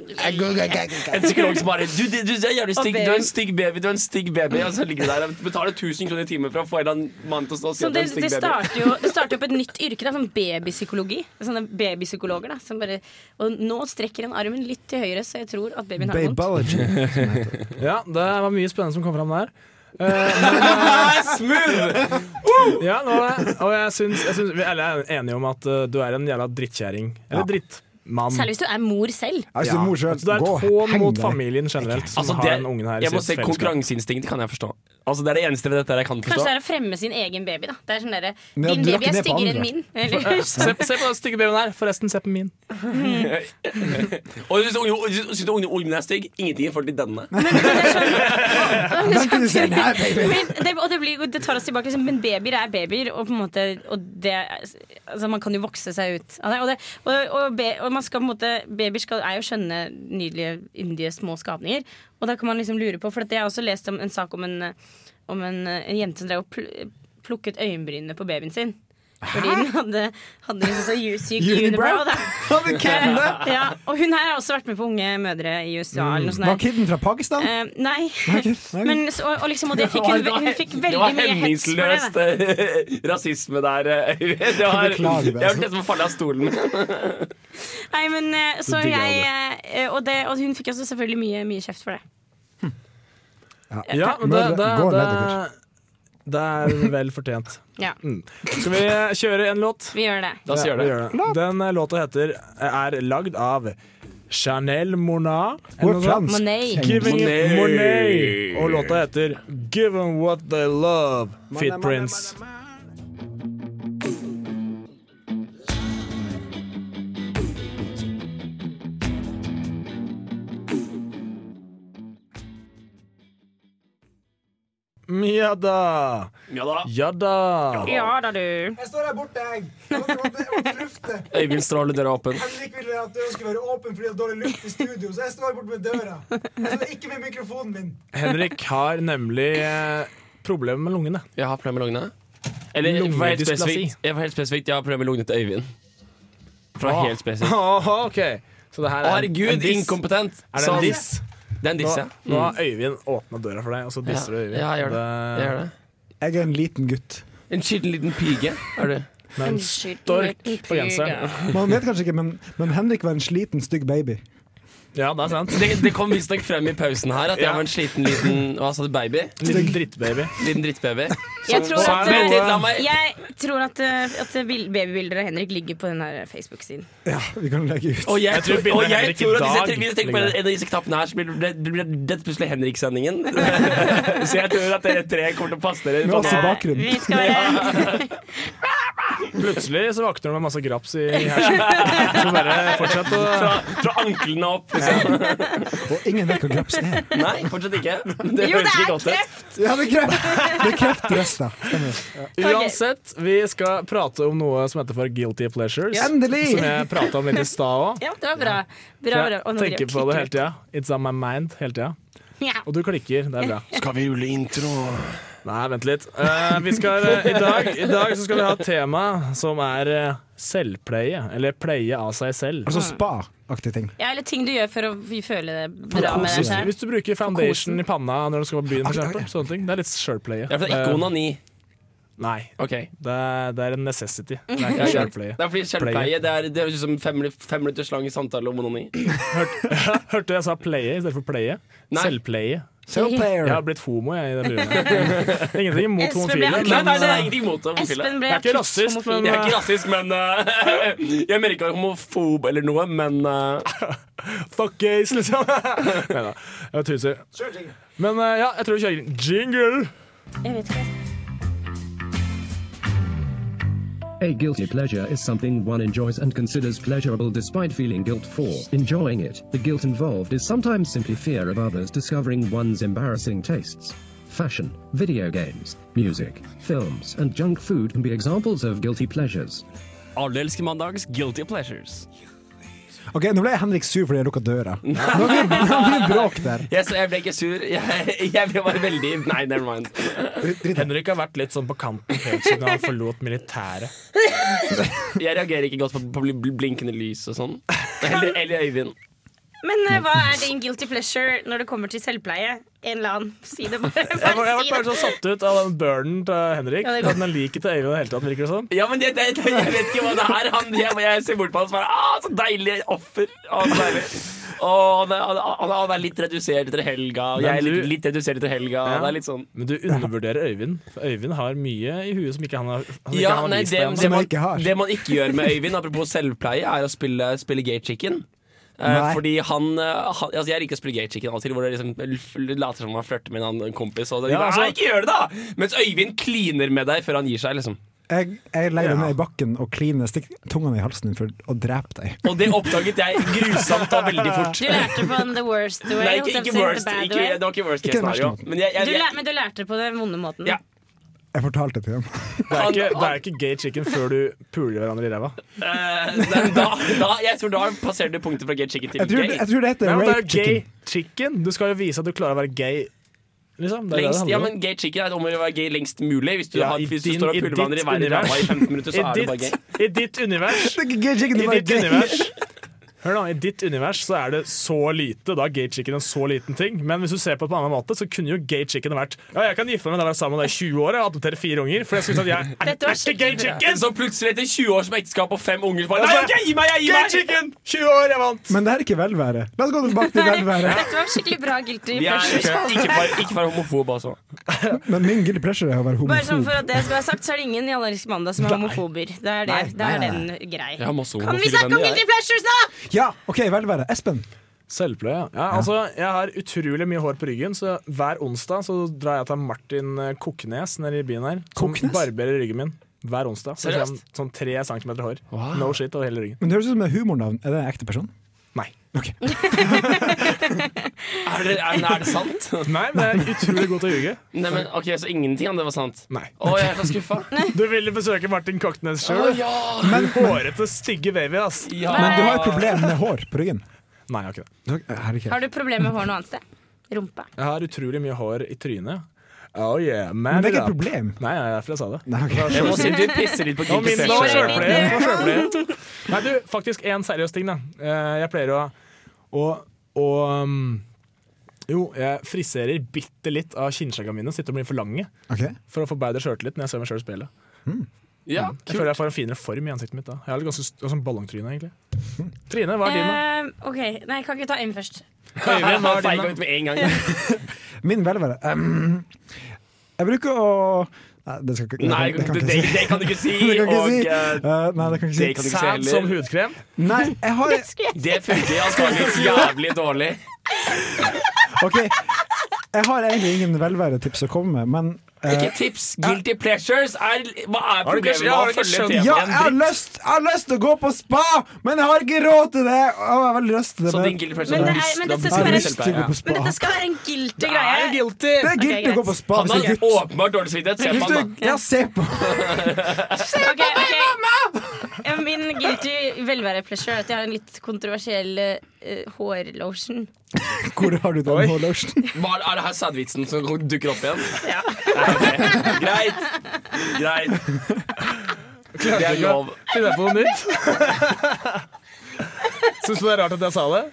F: psykolog som bare Du, du, du, er jævlig
C: Og
F: stygg, du er
C: baby.
F: en stygg baby, du er en stygg baby. Og så ligger du der og betaler 1000 kroner i timen for å få en eller annen mann til å stå og si
C: Så
F: at du
C: Sånn, det,
F: er en stygg
C: det starter
F: baby.
C: jo det starter jo på et nytt yrke, da, sånn babypsykologi. Sånne babypsykologer da, som bare Og nå strekker han armen litt til høyre, så jeg tror at babyen har vondt.
B: ja, det var mye spennende som kom fram der. Eh,
F: Smooth!
B: Ja, det var det. Og jeg syns, jeg syns vi alle er enige om at eh, du er en jævla drittkjerring. Eller
E: Ja.
B: dritt. mann.
C: Særlig hvis du er mor selv.
B: Ja. Så det er et hån mot
E: [LAUGHS]
B: familien generelt. Som
F: Altså,
B: har
F: det,
B: den ungen her i
F: jeg må
B: sitt
F: se
B: fellesskap.
F: Konkurranseinstinktet kan jeg forstå. Altså, det er det eneste ved dette her jeg kan
C: Kanskje
F: forstå.
C: det er å fremme sin egen baby. da Det er sånn derre
F: Men ja,
C: Din
F: du
C: baby
F: rakk
C: er
F: ned på
C: styggere
F: andre.
C: enn min.
F: For-
C: Eller, [LAUGHS]
F: Se-
B: Se på den stygge babyen her. Forresten, se på min.
F: Og hvis ungen- Syns du ungen- ungen er stygg? Ingenting i forhold til denne.
C: Den
F: kunne se den
B: [LAUGHS]
F: her, baby.
C: men det, og det, blir, jo- det tar oss tilbake, liksom, men babyer er babyer, og, på en måte, og det, altså, man kan jo vokse seg ut av det. Og, det, og, og, be, og man skal, på en måte, babyer skal, er jo skjønne, nydelige, yndige små skapninger. Og da kan man liksom lure på, for at jeg har også lest om en sak om en, eh, om en, eh, en jente som drev og pl plukket øyenbrynene på babyen sin. Fordi den hadde, hadde liksom så ju- syk unibrow.
E: Unibrow?
C: da.
E: Hadde kødda?
C: [LAUGHS] ja, og hun her har også vært med på Unge mødre i USA. Eller noe sånt
E: Var
C: der.
E: kiden fra Pakistan?
C: Eh, nei.
E: nei.
C: Men, så, og, og liksom, og det fikk hun, hun fikk
F: Det
C: veldig
F: var
C: mye hets for det.
F: hemningsløst
C: da.
F: eh, rasisme der, eh, [LAUGHS] Øyvind. Det var,
E: Beklager,
F: jeg
B: altså.
F: hørte nesten på å falle av stolen.
C: Nei, men, eh, så
F: Det digger
C: jeg, eh, og, det, og hun fikk også selvfølgelig mye, mye kjeft for det.
B: Ja, det,
E: Mødre,
B: det,
E: gå
B: det,
E: nedover.
B: det er vel fortjent.
C: Ja.
B: Mm. Skal vi kjøre en låt?
C: Vi gjør det.
B: Ja, vi gjør det. Den eh, låta heter er lagd av Chanel Monat.
E: Hun er fransk. Monet.
B: Giving it
E: Monet.
B: Monet. Og låta heter 'Given What They Love', Fit Prince. Ja da.
F: Ja da.
B: Ja da.
C: Ja da, du.
E: Jeg står der borte, jeg. Jeg måtte- måtte- jeg måtte lufte.
F: Øyvind stråler døra åpen.
E: Henrik ville at døra skulle være åpen fordi det er dårlig luft i studio, så jeg står borte med døra. Jeg står ikke med mikrofonen min.
B: Henrik har nemlig eh, problemer med lungene.
F: Jeg har problemer med lungene. Eller jeg var helt
B: Lungedysplasi.
F: spesifikt, jeg, var helt spesifikt, jeg har problemer med lungene til Øyvind. For å være
B: Ah.
F: helt spesifikt.
B: Ah, ok. Så det her
F: Å,
B: er
F: herregud,
B: en diss.
F: inkompetent.
B: Er det
F: Sånn.
B: en diss?
F: Det er en diss, ja.
B: Nå, nå har
F: Mm.
B: Øyvind åpna døra for deg, og så disser du Øyvind.
F: Ja, jeg gjør det. Jeg gjør det.
E: Jeg er en liten gutt.
F: En skitten liten pige er du.
B: Med en stork på genseren.
E: Man vet kanskje ikke, men, men Henrik var en sliten, stygg baby.
B: Ja, det er sant.
F: Det, det kom visstnok frem i pausen her at jeg
B: Ja.
F: var en sliten liten Hva sa du, baby?
B: Liten drittbaby.
F: Liten drittbaby.
C: Jeg
F: Som-
C: tror at,
F: Vent litt, la meg
C: eh, jeg tror at, eh, at bil- babybilder av Henrik ligger på den her Facebook-siden.
E: Ja, vi kan legge ut.
F: Og jeg,
E: [LAUGHS] tror
F: tror, og
E: bildet
F: jeg
E: Henrik i
F: tror at
E: dag
F: hvis jeg, hvis jeg tenker på
E: ligger
F: en av disse knappene her, så blir det, det blir det plutselig Henrik-sendingen. [LAUGHS] så jeg tror at dere tre kommer til å passe dere.
B: Med oss i bakgrunnen.
C: Eh, Vi skal være
B: Plutselig så våkner du med masse graps i hersen. Så bare fortsett å
F: Fra, fra anklene opp. Liksom.
E: Og ingen vet hva graps er.
F: Nei, fortsatt ikke.
C: [LAUGHS]
F: Det
E: Jo, det
F: høres
E: er
F: ikke godt ut.
E: Ja, det er kreft. Det er kreftrøsta. Stemmer.
B: Uansett, vi skal prate om noe som heter for guilty pleasures.
C: Ja. Endelig!
B: Som jeg prata om litt i stad òg.
C: [LAUGHS] Ja, det var bra. bra, bra. Å,
B: Jeg
C: nå driver
B: tenker
C: jeg
B: på
C: og
B: det hele
C: klikker.
B: tida. It's on my mind hele tida.
C: Ja.
B: Og du klikker. Det er bra.
F: [LAUGHS] Skal vi rulle intro?
B: Nei, vent litt. Eh, vi skal, eh, i, dag, I dag så skal vi ha et tema som er eh, selvpleie. Eller pleie av seg selv.
E: Altså spa-aktige ting.
C: Ja, eller ting du gjør for å føle det
B: Hvis
C: bra med deg
B: du-
C: selv.
B: Hvis du bruker foundation i panna når du skal på byen, for eksempel. Sånne ting. Det er litt selvpleie. Eh,
F: Ja, for det er ikke onani.
B: Nei.
F: Ok.
B: Det er, det er en necessity. Det er
F: Ja,
B: ikke
F: ja.
B: selvpleie.
F: Det er fordi selvpleie det er, det er liksom fem, minu- fem minutters lang samtale om onani.
B: Hørte jeg sa pleie istedenfor pleie?
F: Nei.
B: Selvpleie.
E: Self-player.
B: Jeg har blitt homo, jeg. i den runden. Ingenting imot
C: Espen ble
B: homofile.
C: anklaget.
F: Nei, nei, det er
B: men-
F: ingenting imot homofile.
C: Espen ble
B: Det er ikke
C: anklaget
B: rasist,
C: homofil.
B: men
F: Jeg er ikke rasist, men eh, [LAUGHS] Jeg mener ikke å være homofob eller noe, men eh,
B: Fuck gays, liksom. [LAUGHS] Neida, jeg var tuser. Men eh, ja, jeg tror vi kjører jingle.
C: Jeg vet ikke.
M: A guilty pleasure is something one enjoys and considers pleasurable despite feeling guilt for enjoying it. The guilt involved is sometimes simply fear of others discovering one's embarrassing tastes. Fashion, video games, music, films, and junk food can be examples of guilty pleasures.
F: Alle elsker mandags guilty pleasures.
E: Ok, Nå ble Henrik sur fordi jeg lukka døra. Nå blir nå blir det bråk der.
F: Jeg, så jeg ble ikke sur. Jeg, jeg ble bare veldig Nei, never mind.
B: Henrik har vært litt sånn på kanten helt siden han forlot militæret.
F: Jeg reagerer ikke godt på, på bl- bl- blinkende lys og sånn. Eller, eller Øyvind.
C: Men eh, hva er din guilty pleasure når det kommer til selvpleie? En eller annen. Si det bare.
B: Jeg var- jeg
C: Bare
B: ble
C: si
B: bare sånn-
C: det.
B: så satt ut av den burnen til Henrik.
C: Ja, det er
B: at den liker til Øyvind i det hele tatt, virker det som.
F: Ja, men det, det, det, jeg vet ikke hva det er. Han, jeg, jeg ser bort på han og svarer ah, så deilig offer. Ah, så deilig. Og han, er, han, er, han er litt redusert etter helga. og Jeg er
B: Men du-
F: litt, litt redusert etter helga.
B: Ja.
F: Det er litt sånn
B: Men du undervurderer Øyvind. For Øyvind har mye i huet som ikke han har, han ikke
F: ja,
B: han har
F: nei,
B: vist
F: det,
B: deg ennå.
F: det, man, det man ikke gjør med Øyvind, apropos selvpleie, er å spille, spille gay chicken. Eh,
B: Nei.
F: fordi han, eh, han altså Jeg liker å spille gay chicken av og til, hvor det liksom f- later som man flørter med en annen kompis. Og det,
E: Ja, altså-
F: Nei, ikke gjør det, da! Mens Øyvind kliner med deg før han gir seg, liksom.
E: Jeg, jeg legger deg ned i bakken og kliner, stikker tunga ned i halsen din for å drepe deg.
F: Og det oppdaget jeg grusomt da veldig fort.
C: Du lærte på en the worst way.
F: Nei,
C: holdt
F: ikke,
C: jeg på å si,
F: ikke
C: the
F: worst,
C: bad
F: ikke,
C: way.
F: det var ikke worst
E: Ikke
F: case
E: den verste
F: scenario.
E: måten.
F: Men jeg, jeg,
C: du
F: jeg,
C: lær, men du lærte det på den vonde måten.
E: Jeg fortalte det til dem.
B: Det er ikke, det er ikke gay chicken før du puler hverandre i ræva.
F: eh, da, da, jeg tror da passerte du punktet fra gay chicken til
B: Jeg tror
F: gay.
B: det- jeg tror det heter
F: Nei, men
B: rape
F: da er det gay.
B: chicken. Chicken? Du skal jo vise at du klarer å være gay. Liksom, det er
F: Lengst,
B: det det
F: ja,
B: handler om.
F: men Gay chicken er et område å være gay lengst mulig. Hvis du,
B: Ja,
F: har,
B: i
F: hvis du
B: din-
F: står og
B: i
F: puller hverandre
B: ditt
F: i hver ræva i
B: univers.
F: 15 minutter,
B: I
F: så er det bare
B: ditt-
F: gay.
B: I ditt univers
E: Det er ikke gay chicken, det
B: I
E: er bare
B: ditt
E: gay.
B: univers Hør nå, I ditt univers så er det så lite, da er gay chicken en så liten ting. Men hvis du ser på det på en annen måte, så kunne jo gay chicken vært Ja, jeg kan gifte meg med deg og være sammen med deg i 20 år, jeg adopterer fire unger. For jeg skulle sagt jeg er
F: Dette var
B: ikke gay chicken!
F: [LAUGHS] Så plutselig etter 20 år som ekteskap og fem unger så bare,
B: Og så bare,
C: Altså,
F: Nei, ok, gi meg, jeg gir
B: Gay
F: meg!
B: chicken! 20 år, jeg vant!
E: Men det her er ikke velvære. La oss gå tilbake til velvære.
F: [LAUGHS]
C: Dette var skikkelig bra guilty
F: Vi er ikke
C: pleasure.
F: ikke bare, ikke bare homofob, altså.
E: Men min guilty pleasure er å være
C: Bare sånn
E: homofob.
C: for at det skal være sagt, så er det ingen i Allergisk mandag som er homofober. Det er, det, det
E: Nei, nei,
C: er
E: nei,
C: den
E: nei.
C: grei.
E: Jeg har masse
C: Kan vi
E: homofile
C: snakke om
E: venner, jeg.
C: guilty pleasures, da?!
E: Ja, OK, velvære. Espen.
B: Selvpleie. Ja, altså, jeg har utrolig mye hår på ryggen, så hver onsdag så drar jeg til Martin eh, Koknes nede i byen her. Som barberer ryggen min hver onsdag. Så
E: Seriøst?
B: kommer han sånn tre centimeter hår. No shit over hele ryggen.
E: Men det høres ut som et humornavn. Er det en ekte person?
B: Nei.
F: Er det, er, er det sant?
B: Nei, men jeg er utrolig god til å ljuge.
F: Nei, men ok, Så ingenting av det var sant?
B: Nei.
F: Å, jeg er så skuffa.
E: [LAUGHS]
B: Du ville besøke Martin Koknes
F: Å,
B: sjøl?
F: ja.
B: Men hårete, stygge baby, ass.
E: Men du har et problem med hår på ryggen.
B: Nei, jeg har ikke det.
E: Du har- er det ikke?
C: Har du problemer med hår noe annet sted? Rumpa.
B: Jeg har utrolig mye hår i trynet. Oh yeah,
E: Men det er ikke et
B: problem. Nei, det er derfor jeg sa det.
F: Jeg må si du pisser litt på
B: Og min
F: Guilty
B: nå
F: pleasure.
B: sjølpleie. nå sjølpleie. Nei, du, faktisk en seriøs ting, da. Eh, Jeg pleier å å, å um, Jo, jeg friserer bitte litt av kinnskjeggene mine, sitter og blir for lange, for å få bedre sjøltillit når jeg ser meg sjøl i speilet.
F: Ja,
B: Mm. jeg føler jeg får en finere form i ansiktet mitt da. Jeg har litt ganske st- sånn ballongtryne, egentlig. Trine, hva er din, da?
C: Eh, OK, nei, kan ikke ta en først.
B: Eh, Øyvind, hva er din, da?
F: Feiga ut med en gang.
E: Min velvære ehm, Jeg bruker å Nei, det skal ikke
F: Nei,
E: det kan
F: det-
E: ikke si. [LAUGHS]
F: det kan du ikke si,
E: Det kan ikke
F: og,
E: si.
F: eh,
E: Eh, nei, det kan ikke si.
F: det kan du ikke si Sæd heller. som hudkrem?
E: Nei, jeg
C: [LAUGHS]
E: har
F: Det funker antakeligvis jævlig dårlig.
E: OK. Jeg har egentlig ingen velværetips å komme med, men eh,
F: Ikke tips. Guilty pleasures er Hva er
E: Har du
F: problemet
E: ikke-
F: med
E: ja, har
F: å
E: du ikke
F: følge
E: skjønt?
F: temaet?
E: Ja, jeg har, lyst, jeg har lyst til å gå på spa, men jeg har ikke råd til det! Og jeg har veldig lyst til det
F: Så din guilty pleasure
C: Men, det
E: Jeg
C: er,
E: har
C: men,
E: lyst
C: dette,
E: til å
C: skal
E: gå
C: være
E: på spa.
C: en, men dette skal være en guilty
F: Det
C: greie.
F: er guilty.
E: Det er
C: Ok,
E: guilty
C: greit.
E: å gå på spa hvis
F: Han
E: du
F: har
E: er gutt.
F: åpenbart dårlig samvittighet. Se
E: Hvis
F: på
E: du,
F: han, da.
E: ja, se på [LAUGHS]
C: Ok, ok. Ja, Min guilty velvære-pleasure er at jeg har en litt kontroversiell eh, hårlotion.
E: Hvor har du den hårlotion?
F: Hva er- Er det her sædvitsen som dukker opp igjen? Ja. Greit. Greit. Det er lov.
B: Finner jeg på noe
F: [LAUGHS]
B: nytt? Syns du det er rart at jeg sa det?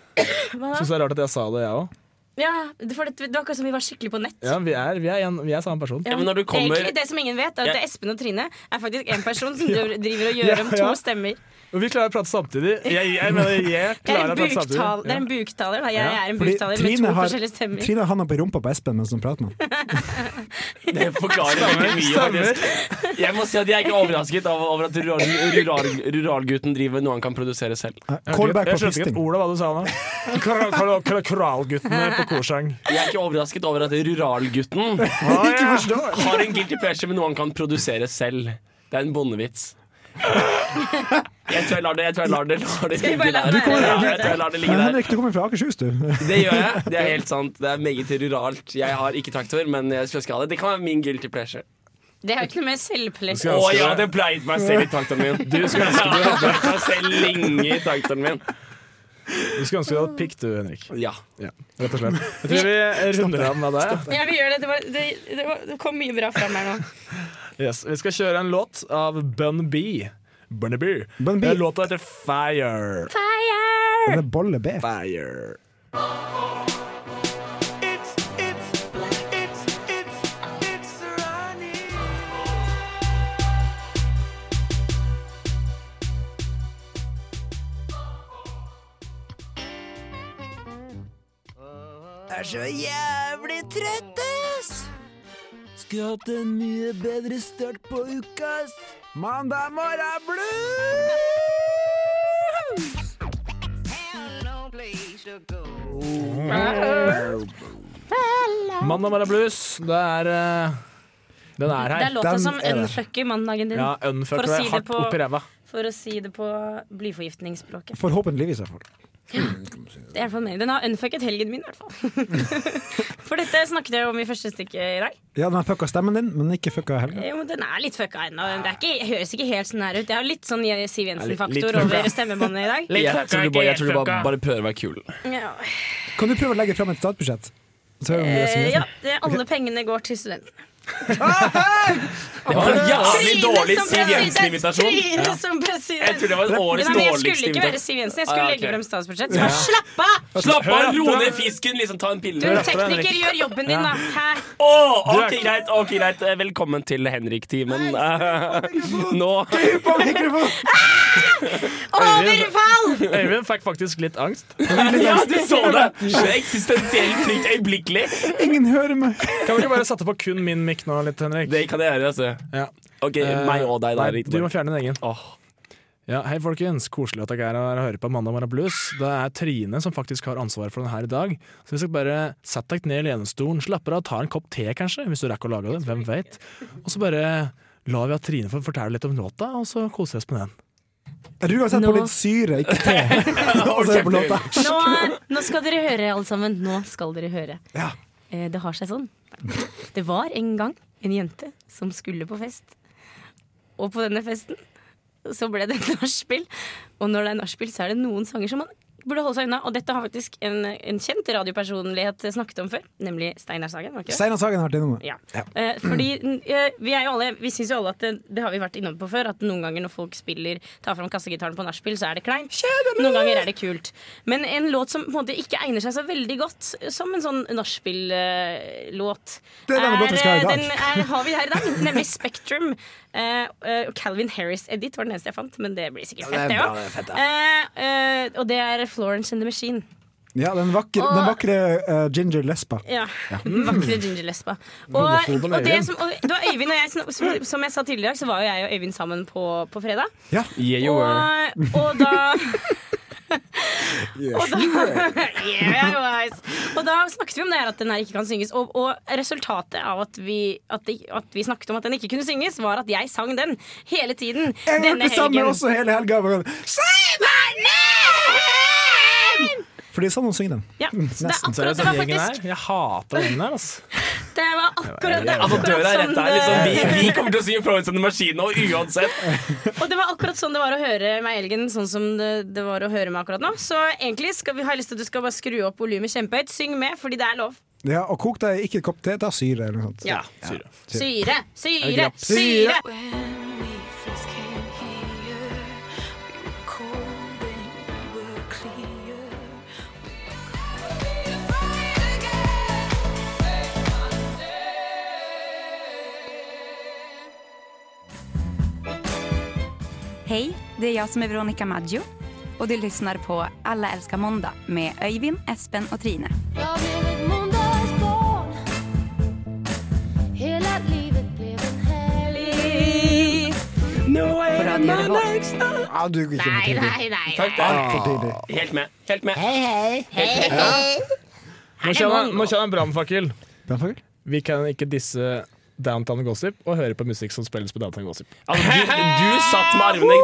C: Hva
B: Syns du
C: da?
B: det er rart at jeg sa det, jeg òg?
C: Ja, det, for det, det var akkurat som vi var skikkelig på nett.
B: Ja, vi er, vi, er en, vi er samme person.
C: Ja. Egentlig, det som ingen vet, er at det er Espen og Trine er faktisk en person
B: [LAUGHS]
C: som
B: Ja.
C: driver- driver og
B: Ja,
C: gjør om to
B: ja.
C: stemmer.
B: Og vi klarer å prate samtidig. Jeg, jeg mener, jeg
C: Jeg er
B: klarer
C: en
B: å prate samtidig.
C: buktaler, det er en buktaler da. Jeg
E: Ja,
C: er en
E: fordi
C: buktaler med
E: Trine
C: to
E: har-
C: forskjellige stemmer.
E: Trine har handa på rumpa på Espen mens hun prater med ham.
F: Det forklarer veldig mye. faktisk. Jeg må si at jeg er ikke overrasket av- over at rural- rural- ruralgutten driver med noe han kan produsere selv.
E: Eh,
B: Jeg skjønte ikke- Jeg skjønte ikke et ord av hva du sa nå. Kral- kral- kral- Kralguttene på Korsang.
F: Jeg er ikke overrasket over at ruralgutten
E: [LAUGHS]
F: har en guilty pleasure med noe han kan produsere selv. Det er en
E: [LAUGHS]
F: bondevits. Jeg tror jeg lar det, jeg tror jeg lar det, lar det
E: Skal vi
F: ligge
E: bare la
F: der.
E: det være?
F: Ja, jeg tror jeg lar det ligge
E: Men
F: der.
E: Henrik, du kommer fra Akershus, du.
F: Det gjør jeg. Det er helt sant. Det er meget ruralt. Jeg har ikke traktor, men jeg skulle ønske jeg hadde. Det kan være min guilty pleasure.
C: Det har ikke noe med
F: Å
C: selvpleasure
F: ja, det pleide meg selv i traktoren min.
B: Du skulle ønske du hadde-
F: Jeg har meg selv lenge i traktoren min.
B: Du skulle ønske du hadde pikk, du, Henrik.
F: Ja.
B: Rett og slett. Jeg tror vi runder av med det.
C: Ja, vi gjør det. Det, var, det, det, var, det kom mye bra fram her nå.
B: Yes. Vi skal kjøre en låt av Bun B. Bun B.
E: B.
B: Eh, Låta heter Fire.
E: Det er bolle B.
B: Fire.
N: Er så jævlig trøtt, ass! Skulle hatt en mye bedre start på uka, ass. Mandag morgen er blues!
B: Mandag morgen blues. Det er eh, Den er her.
C: Det er låta som unfucker mandagen din.
B: Ja, unfucker deg hardt opp i ræva.
C: For å si det på blyforgiftningsspråket.
E: Forhåpentligvis, i hvert fall.
C: Det er i hvert fall meg. Den har unfucket helgen min, i hvert fall. [LAUGHS] for dette snakket jeg om i første stykke i dag.
E: Ja, den har fucka stemmen din, men ikke fucka helga.
C: Jo, men den er litt fucka ennå. Den er ikke, høres ikke helt sånn her ut. Jeg har litt sånn Siv
F: Litt- litt
C: Jensen-faktor
F: fucka.
C: over stemmebåndet i dag.
F: Jeg tror du bare, jeg tror du bare, bare prøver å være kul.
C: Ja.
E: Kan du prøve å legge fram et statsbudsjett? Så hører vi om det er sånn,
C: Eh,
E: seriøst.
C: ja, det, alle pengene går til studentene.
F: Det var en jævlig
C: Trine
F: dårlig
C: som
F: Siv
C: president!
F: Jensen-invitasjon.
C: Trine
F: Ja.
C: som president!
F: Jeg tror det var
C: Nei,
F: årets
C: men Jeg
F: dårligste
C: skulle ikke være
F: invitasjon.
C: Siv Jensen, jeg
F: Ah,
C: skulle
F: ja,
C: legge
F: ok.
C: frem statsbudsjett.
F: Ja.
C: Så bare slapp av!
F: Slapp av, ro
C: Hør da.
F: ned fisken, liksom ta en pille.
C: Du, tekniker, gjør jobben din, da. Hæ?
F: Åh, ok, greit, ok, greit. Eh, Velkommen til Henrik-timen. [LAUGHS] Nå
C: Overfall!
B: Øyvind fikk faktisk litt angst.
F: Ja, du så det! Det er eksistensielt frykt øyeblikkelig.
E: Ingen hører meg.
B: Kan vi ikke bare sette på kun min mikk nå litt, Henrik?
F: Det kan jeg gjøre, altså. Ok,
B: Eh,
F: meg og deg, da.
B: nei,
F: Erik.
B: Du må fjerne din egen.
F: Åh.
B: Ja, hei folkens, Koselig at dere er her og hører på Mandag morgen blues. Det er Trine som faktisk har ansvaret for den her i dag. Så hvis dere bare setter dere ned i lenestolen, slapper av, tar en kopp te kanskje, hvis du rekker å lage det, hvem vet. Og så bare lar vi at Trine får fortelle litt om låta, og så koser vi oss med den.
E: Jeg tror uansett på litt syre, ikke
C: [LAUGHS]
E: te. Og så er det på låta.
C: Nå, nå skal dere høre, alle sammen. Nå skal dere høre. Eh, Det har seg sånn. Det var en gang en jente som skulle på fest. Og på denne festen så ble det et nachspiel. Og når det er nachspiel, så er det noen sanger som man burde holde seg unna. Og dette har faktisk en, en kjent radiopersonlighet snakket om før, nemlig Steinar Sagen. var ikke det?
E: Steinar Sagen har vært innom.
C: Ja. Eh, fordi eh, vi er jo alle Vi syns jo alle at det, det har vi vært innom på før, at noen ganger når folk spiller tar fram kassegitaren på nachspiel, så er det kleint. Noen ganger er det kult. Men en låt som på en måte ikke egner seg så veldig godt som en sånn nachspiel-låt, eh,
E: Det er denne låten vi skal ha i dag.
C: den er, har vi her i dag, nemlig Spektrum. Eh, eh, og Calvin Harris Edit var den eneste jeg fant, men det blir sikkert
E: Ja,
C: fett,
E: det
C: det
E: er bra, det er fett,
C: òg. Eh, eh, og det er Florence and the Machine.
E: Ja, den vakre, den vakre eh, Ginger Lesba.
C: Ja. [LAUGHS] Vakre Ginger Lesba.
F: Mm.
C: Og, og
E: Homofob eller
C: det
E: Øyvind?
C: som, og, det var Øyvind og jeg som- som, som jeg sa tidligere i dag, så var jo jeg og Øyvind sammen på, på fredag.
E: Ja.
F: Yeah, you
C: Og,
F: were.
C: og da
F: [LAUGHS]
C: og da, [LAUGHS] yeah, guys. og da snakket vi om det her at den her ikke kan synges. Og, og resultatet av at vi, at, det, at vi snakket om at den ikke kunne synges, var at jeg sang den hele tiden.
E: Jeg har
C: denne
E: vært sammen
C: helgen.
E: også hele helga. bare- For det er sånn hun synger den.
C: Ja, så det er
E: Nesten.
C: akkurat det var faktisk
B: Jeg hater den der, altså.
C: Det var akkurat, det var
F: Altså,
C: akkurat
F: døra er
C: sånn
F: rett der.
C: det-
F: Liksom. Vi, vi kommer til å synge Florence and the Machine nå uansett.
C: Og det var akkurat sånn det var å høre meg i helgen, sånn som det, det var å høre meg akkurat nå. Så egentlig skal vi, har jeg lyst til at du skal bare skru opp volumet kjempehøyt. Syng med, fordi det er lov.
E: Ja, og kok deg ikke et kopp te, ta syre eller noe sånt.
C: Ja.
E: Syre.
C: Syre,
E: Er det
C: syre,
E: grapp?
C: syre!
O: Hej, det är jag som är Veronica Maggio och du lyssnar på Alla älskar måndag med Öyvind, Espen och Trine.
H: Jag blev ett måndagsbarn Hela livet blev en helg
F: Nå er
H: det mandagsdag
E: Ja, du gikk ikke
H: Nei,
E: for tidlig.
H: nei, nei
F: Fuck det.
E: Altfor
F: Helt med. Helt med.
H: Hei,
F: Helt med.
B: Nå kjenner jeg- nå kjenner jeg en brannfakkel.
E: Brannfakkel?
B: Vi kan ikke disse Downtown Gossip og høre på musikk som spilles på Downtown Gossip.
F: Altså, du, du satt med armene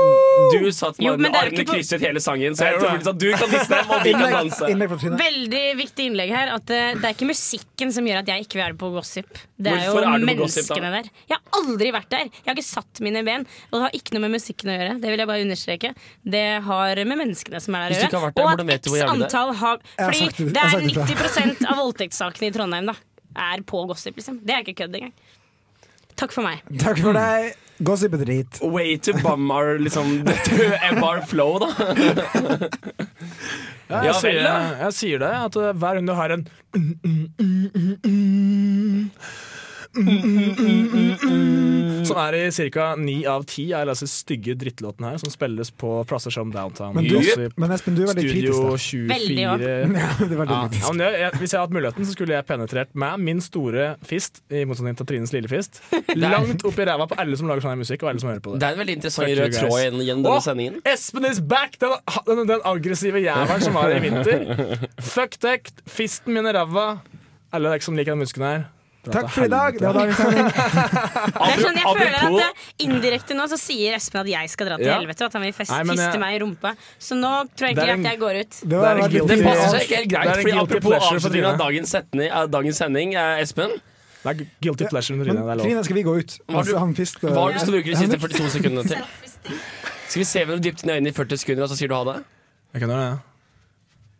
F: Du satt med
B: Jo, men
F: armene,
B: det er jo
F: armene
B: ikke på-
F: krysset hele sangen,
B: Jeg
F: så jeg
B: gjorde
F: tror
B: det.
F: liksom, du kan disse dem, og vi kan
B: Innlegg-
F: danse.
B: innlegg
C: Veldig viktig innlegg her. At eh, det er ikke musikken som gjør at jeg ikke vil være på gossip. Det er
F: Hvorfor
C: jo
F: er du på gossip, da?
C: menneskene der. Jeg har aldri vært der. Jeg har ikke satt mine ben. Og det har ikke noe med musikken å gjøre. Det vil jeg bare understreke. Det har med menneskene som er der å
F: Hvis du
C: gjøre.
F: ikke har vært der,
C: og
F: hvordan vet du hvor
C: X
F: jævlig det er?
C: antall har
F: Jeg har
C: Fordi
F: sagt det- jeg
C: det
F: har
C: er
F: sagt det før.
C: 90 av voldtektssakene i Trondheim da er på gossip, liksom. Det er ikke kødd engang. Takk for meg.
E: Takk
B: Mm.
E: for deg. Gossip er drit.
F: Way to bum our liksom, [LAUGHS] MR flow, da.
B: Ja,
F: Ja
B: jeg,
F: vel,
B: sier, eh,
F: da.
B: jeg sier det, at uh, hver gang du har en Som er i ca. ni av ti av disse stygge drittlåtene her, som spilles på plasser som Downtown.
E: Men, du,
B: Gossip,
E: men Espen, du er veldig kritisk.
B: Studio
E: da.
B: 24
E: Veldig, ja. [LAUGHS] Ja, du er veldig
B: Ja,
E: kritisk.
B: ja, men jeg, jeg, Hvis jeg hadde hatt muligheten, så skulle jeg penetrert med min store fist, i motsetning til Trines lille fist, langt opp i ræva på alle som lager sånn her musikk, og alle som hører på det.
F: Det er en veldig interessant
B: Fuck you
F: rød
B: guys.
F: tråd gjennom- gjennom denne
B: Å,
F: sendingen.
B: Espen is back! Den, den, den aggressive jævelen som var i vinter.
F: [LAUGHS]
B: Fuck tech, fisten min i ræva. Alle dere som liker den musikken her.
E: Takk for i dag! Det var dagens sending.
C: Det er sånn, jeg føler at
B: apropos-
C: eh, Indirekte nå så sier Espen at jeg skal dra til
B: Ja.
C: helvete, og at han vil fest,
B: Nei, men jeg-
C: fiste meg i rumpa. Så nå tror jeg
F: eh, Det er
C: egentlig
F: en-
C: at jeg går ut.
E: Det var veldig
F: Det
E: guilty-
F: passer seg ikke helt
B: Det er
F: greit,
B: en
F: fordi
B: guilty
F: apropos
B: pleasure for
F: avslutningen av
B: Trine.
F: dagens, setning, av dagens sending, eh, Espen
B: Det er guilty pleasure med
E: Men Trine, skal vi gå ut?
F: Hva har du-
E: Altså, han fist,
F: Hva har du lyst til å bruke de siste
E: Henrik?
F: 42 sekundene til? Skal vi se hvem du dypt inn i øynene i 40 sekunder, og så sier du ha det?
B: Jeg kan gjøre det, ja.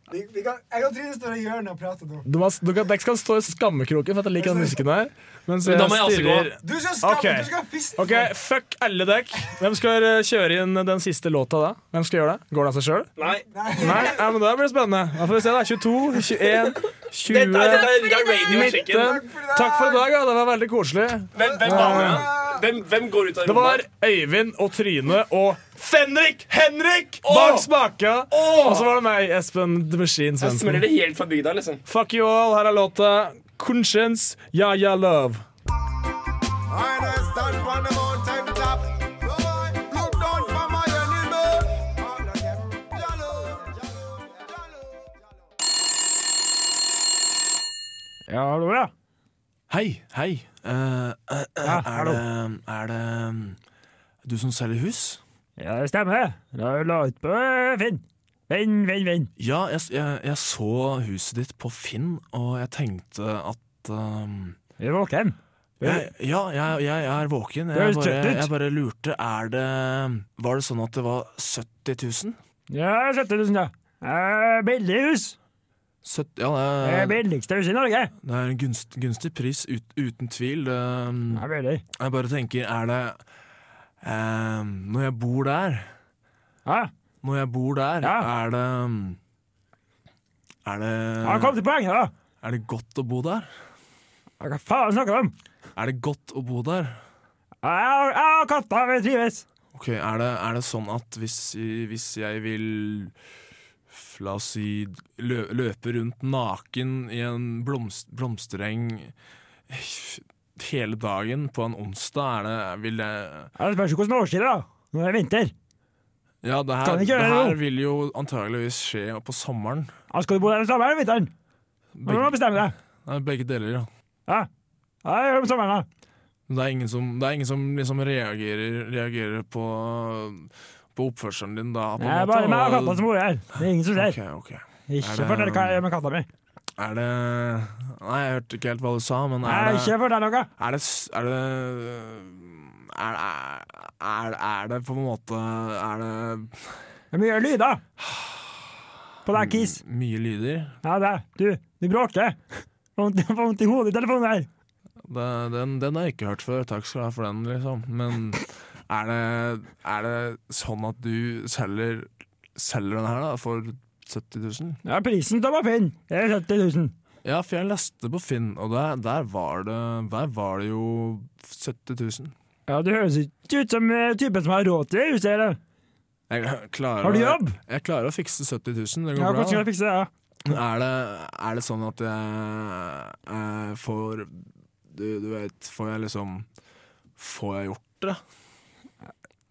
E: Vi- vi kan- Jeg og Trine står i hjørnet og prater nå.
B: Du må, du kan, dere skal stå i skammekroken for at jeg liker den musikken her. Mens
E: Men da må jeg
F: altså
E: også
B: stirrer-
E: gå. Du skal skamme,
B: Ok.
E: du skal fiste.
B: Ok, fuck alle dekk. Hvem skal eh, kjøre inn den siste låta da? Hvem skal gjøre det? Går det av seg sjøl?
F: Nei.
B: Nei, ja, men da blir det spennende. Da får vi se, da. 22, 21, 20
F: Dette er- dette er- det er radio
B: midten.
F: chicken.
B: Takk for i dag, ja. Det var veldig koselig.
F: Hvem, hvem,
B: Ja.
F: damer, da? hvem, hvem går ut av
B: Det var Øyvind og Tryne og Fenrik Henrik bak spaka. Og så var det meg, Espen The Machine
F: Jeg
B: Svendsen.
F: smører det helt fra bygda, liksom.
B: Fuck you all, her er låta Conscience, Ja Ja Love.
N: I just stand on the mountain top. Look down from my enemy.
K: Ja, hallo, ja.
B: Hei, hei. Eh, eh, eh,
K: Ja,
B: er,
K: hallo.
B: det, er det um, du som selger hus?
K: Ja, det stemmer. det. Da la ut på eh, Finn. Finn, Finn, Finn.
B: Ja, jeg, s- jeg, jeg så huset ditt på Finn, og jeg tenkte at um,
K: Er du våken?
B: jeg, ja, jeg, jeg er våken.
K: Du er
B: Jeg
K: jo
B: bare,
K: trøtt ut.
B: jeg bare lurte. Er det Var det sånn at det var 70 000?
K: Ja, 70 000, ja. Eh, Billig hus.
B: Søtt- ja,
K: Det
B: det
K: er billigste huset i Norge.
B: Det er en gunst, gunstig pris, ut, uten tvil. Um, jeg bare tenker, er det um, Når jeg bor der Når jeg bor der, er det um, Er det
K: Ja, kom til poenget, da.
B: Er det godt å bo der?
K: Ja, Hva faen snakker du om?
B: Er det godt å bo der?
K: Ja, ja, katta vil trives.
B: Ok, Er det, er det sånn at hvis, hvis jeg vil f- La oss si lø, løpe rundt naken i en blomst, blomstereng hele dagen på en onsdag, er det Vil jeg
K: Ja, Det spørs jo hvordan årstid det er, da. Nå er det vinter.
B: Ja, det
K: Kan
B: her,
K: ikke
B: det
K: gjøre
B: her
K: noe.
B: vil jo antageligvis skje på sommeren.
K: Ja, skal du bo der om sommeren eller vinteren? Du må bestemme deg.
B: Nei, begge deler, ja.
K: Ja. ja, gjør det om sommeren, da.
B: Det er ingen som, det er ingen som liksom reagerer, reagerer på, på oppførselen din da, på
K: Det
B: en
K: er
B: måte.
K: bare meg og
B: og-
K: katta som bor her. Det er ingen som ser.
B: Ok, ok. Er
K: Ikke
B: det-
K: fortell hva jeg gjør med katta mi.
B: Er det Nei, jeg hørte ikke helt hva du sa, men
K: Nei,
B: er det
K: ikke fortell noe.
B: Er det s- Er det er, er, er, er det på en måte Er det
K: Det er mye lyder. På deg, Kis.
B: mye lyder?
K: Ja, det. er- Du, du bråker. Får vondt- får vondt i hodet i telefonen her.
B: Det, den, den har jeg ikke hørt før. Takk skal du ha for den, liksom. Men er det, er det sånn at du selger, selger den her da, for 70 000?
K: Ja, prisen til å Finn er 70 000.
B: Ja, for jeg leste på Finn, og der, der, var, det, der var det jo 70 000.
K: Ja, du høres ikke ut som eh, typen som har råd til det huset, eller?
B: Jeg klarer,
K: Har du
B: å-
K: jobb?
B: Jeg, klarer å fikse 70 000. Det
K: Ja,
B: går
K: hvordan
B: bra.
K: skal jeg fikse det? ja?
B: Er det, er det sånn at jeg, jeg får du, du vet, får jeg liksom Får jeg gjort det?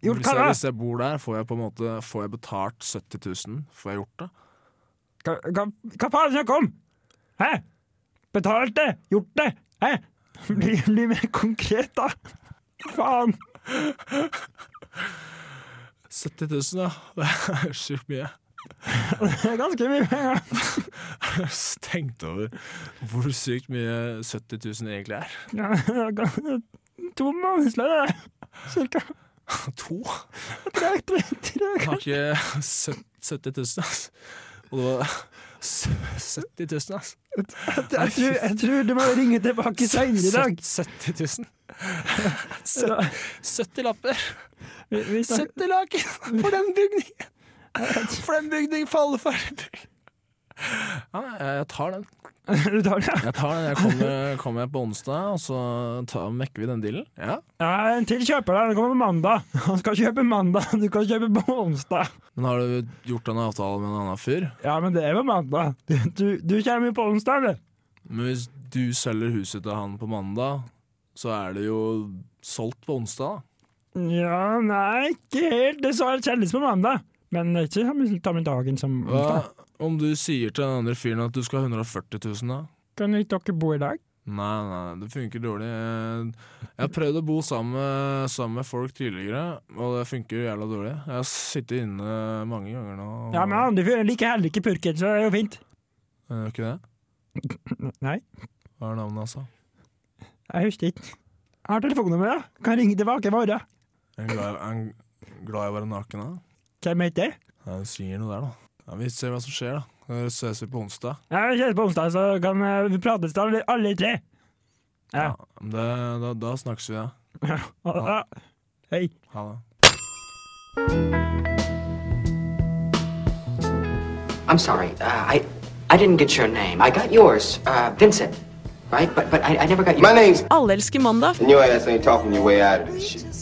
K: Gjort
B: hvis,
K: hva
B: jeg,
K: da?
B: hvis jeg bor der, får jeg på en måte Får jeg betalt 70 000? Får jeg gjort det?
K: Hva, hva, hva faen snakker du om? Hæ? Betalt det? Gjort det? Hæ? Bli, bli mer konkret, da. Faen.
B: 70 000, ja. [LAUGHS] Det er sjukt mye.
K: Det er ganske mye penger.
B: Jeg har tenkt over hvor sykt mye 70 000 egentlig er.
K: Ja, det er gans- to månedslønner, det. Cirka.
B: To?
K: Tre, tre, tre,
B: Jeg har
K: kanskje.
B: ikke sø- 70 000, ass. Og det [LAUGHS] var sø- 70 000, ass.
K: Jeg tror, jeg tror du må ringe tilbake senere i dag.
B: 70 000. 70 lapper.
K: Vi, vi snakker-
B: 70 laken [LAUGHS] for den bygningen! For den bygningen for alle ferdig Ja, jeg tar den.
K: [LAUGHS] Du tar den, ja?
B: Jeg tar den. Jeg kommer, kommer jeg på onsdag, og så tar, mekker vi den dealen. Ja.
K: Ja, en til kjøper der. Den kommer på mandag. Han skal kjøpe mandag, du kan kjøpe på onsdag.
B: Men har du gjort en avtale med en annen fyr?
K: Ja, men det er på mandag. Du, du, du kommer jo på onsdag, eller?
B: Men hvis du selger huset til han på mandag, så er det jo solgt på onsdag, da.
K: Ja, nei, ikke helt. Det så helt kjendis på mandag. Men det er ikke sånn samme- samme dagen som onsdag.
B: Hva om du sier til den andre fyren at du skal ha 140 000, da?
K: Kan ikke dere bo i dag?
B: Nei, nei, det funker dårlig. Jeg har prøvd å bo sammen, med- sammen med folk tidligere, og det funker jævla dårlig. Jeg har sittet inne mange ganger nå. og-
K: Ja, men andre fyren liker heller ikke purken, så det er jo fint.
B: Er det Eh, ikke det?
K: Nei,
B: Hva er navnet, altså?
K: jeg husker ikke. Jeg har telefonnummeret. Kan ringe tilbake i morgen.
B: Er han glad, er han glad i å være naken, da?
K: Hvem heter det?
B: Nei, du sier noe der, da. Ja, vi ser hva som skjer, da. Så ses vi på onsdag.
K: Jeg kjenner på onsdag, så kan eh, vi prates da, alle- alle tre. Ja.
B: Men Det, da, da snakkes vi, da.
K: [LAUGHS] Ha det.
B: Ha-
K: Hei.
B: Ha det.
P: I'm sorry. Uh, I I didn't get your name. I got yours, uh, Vincent, right? But but I, I never got your. My name's.
Q: Alle elsker mandag.
R: And your ass ain't talking your way out of this shit.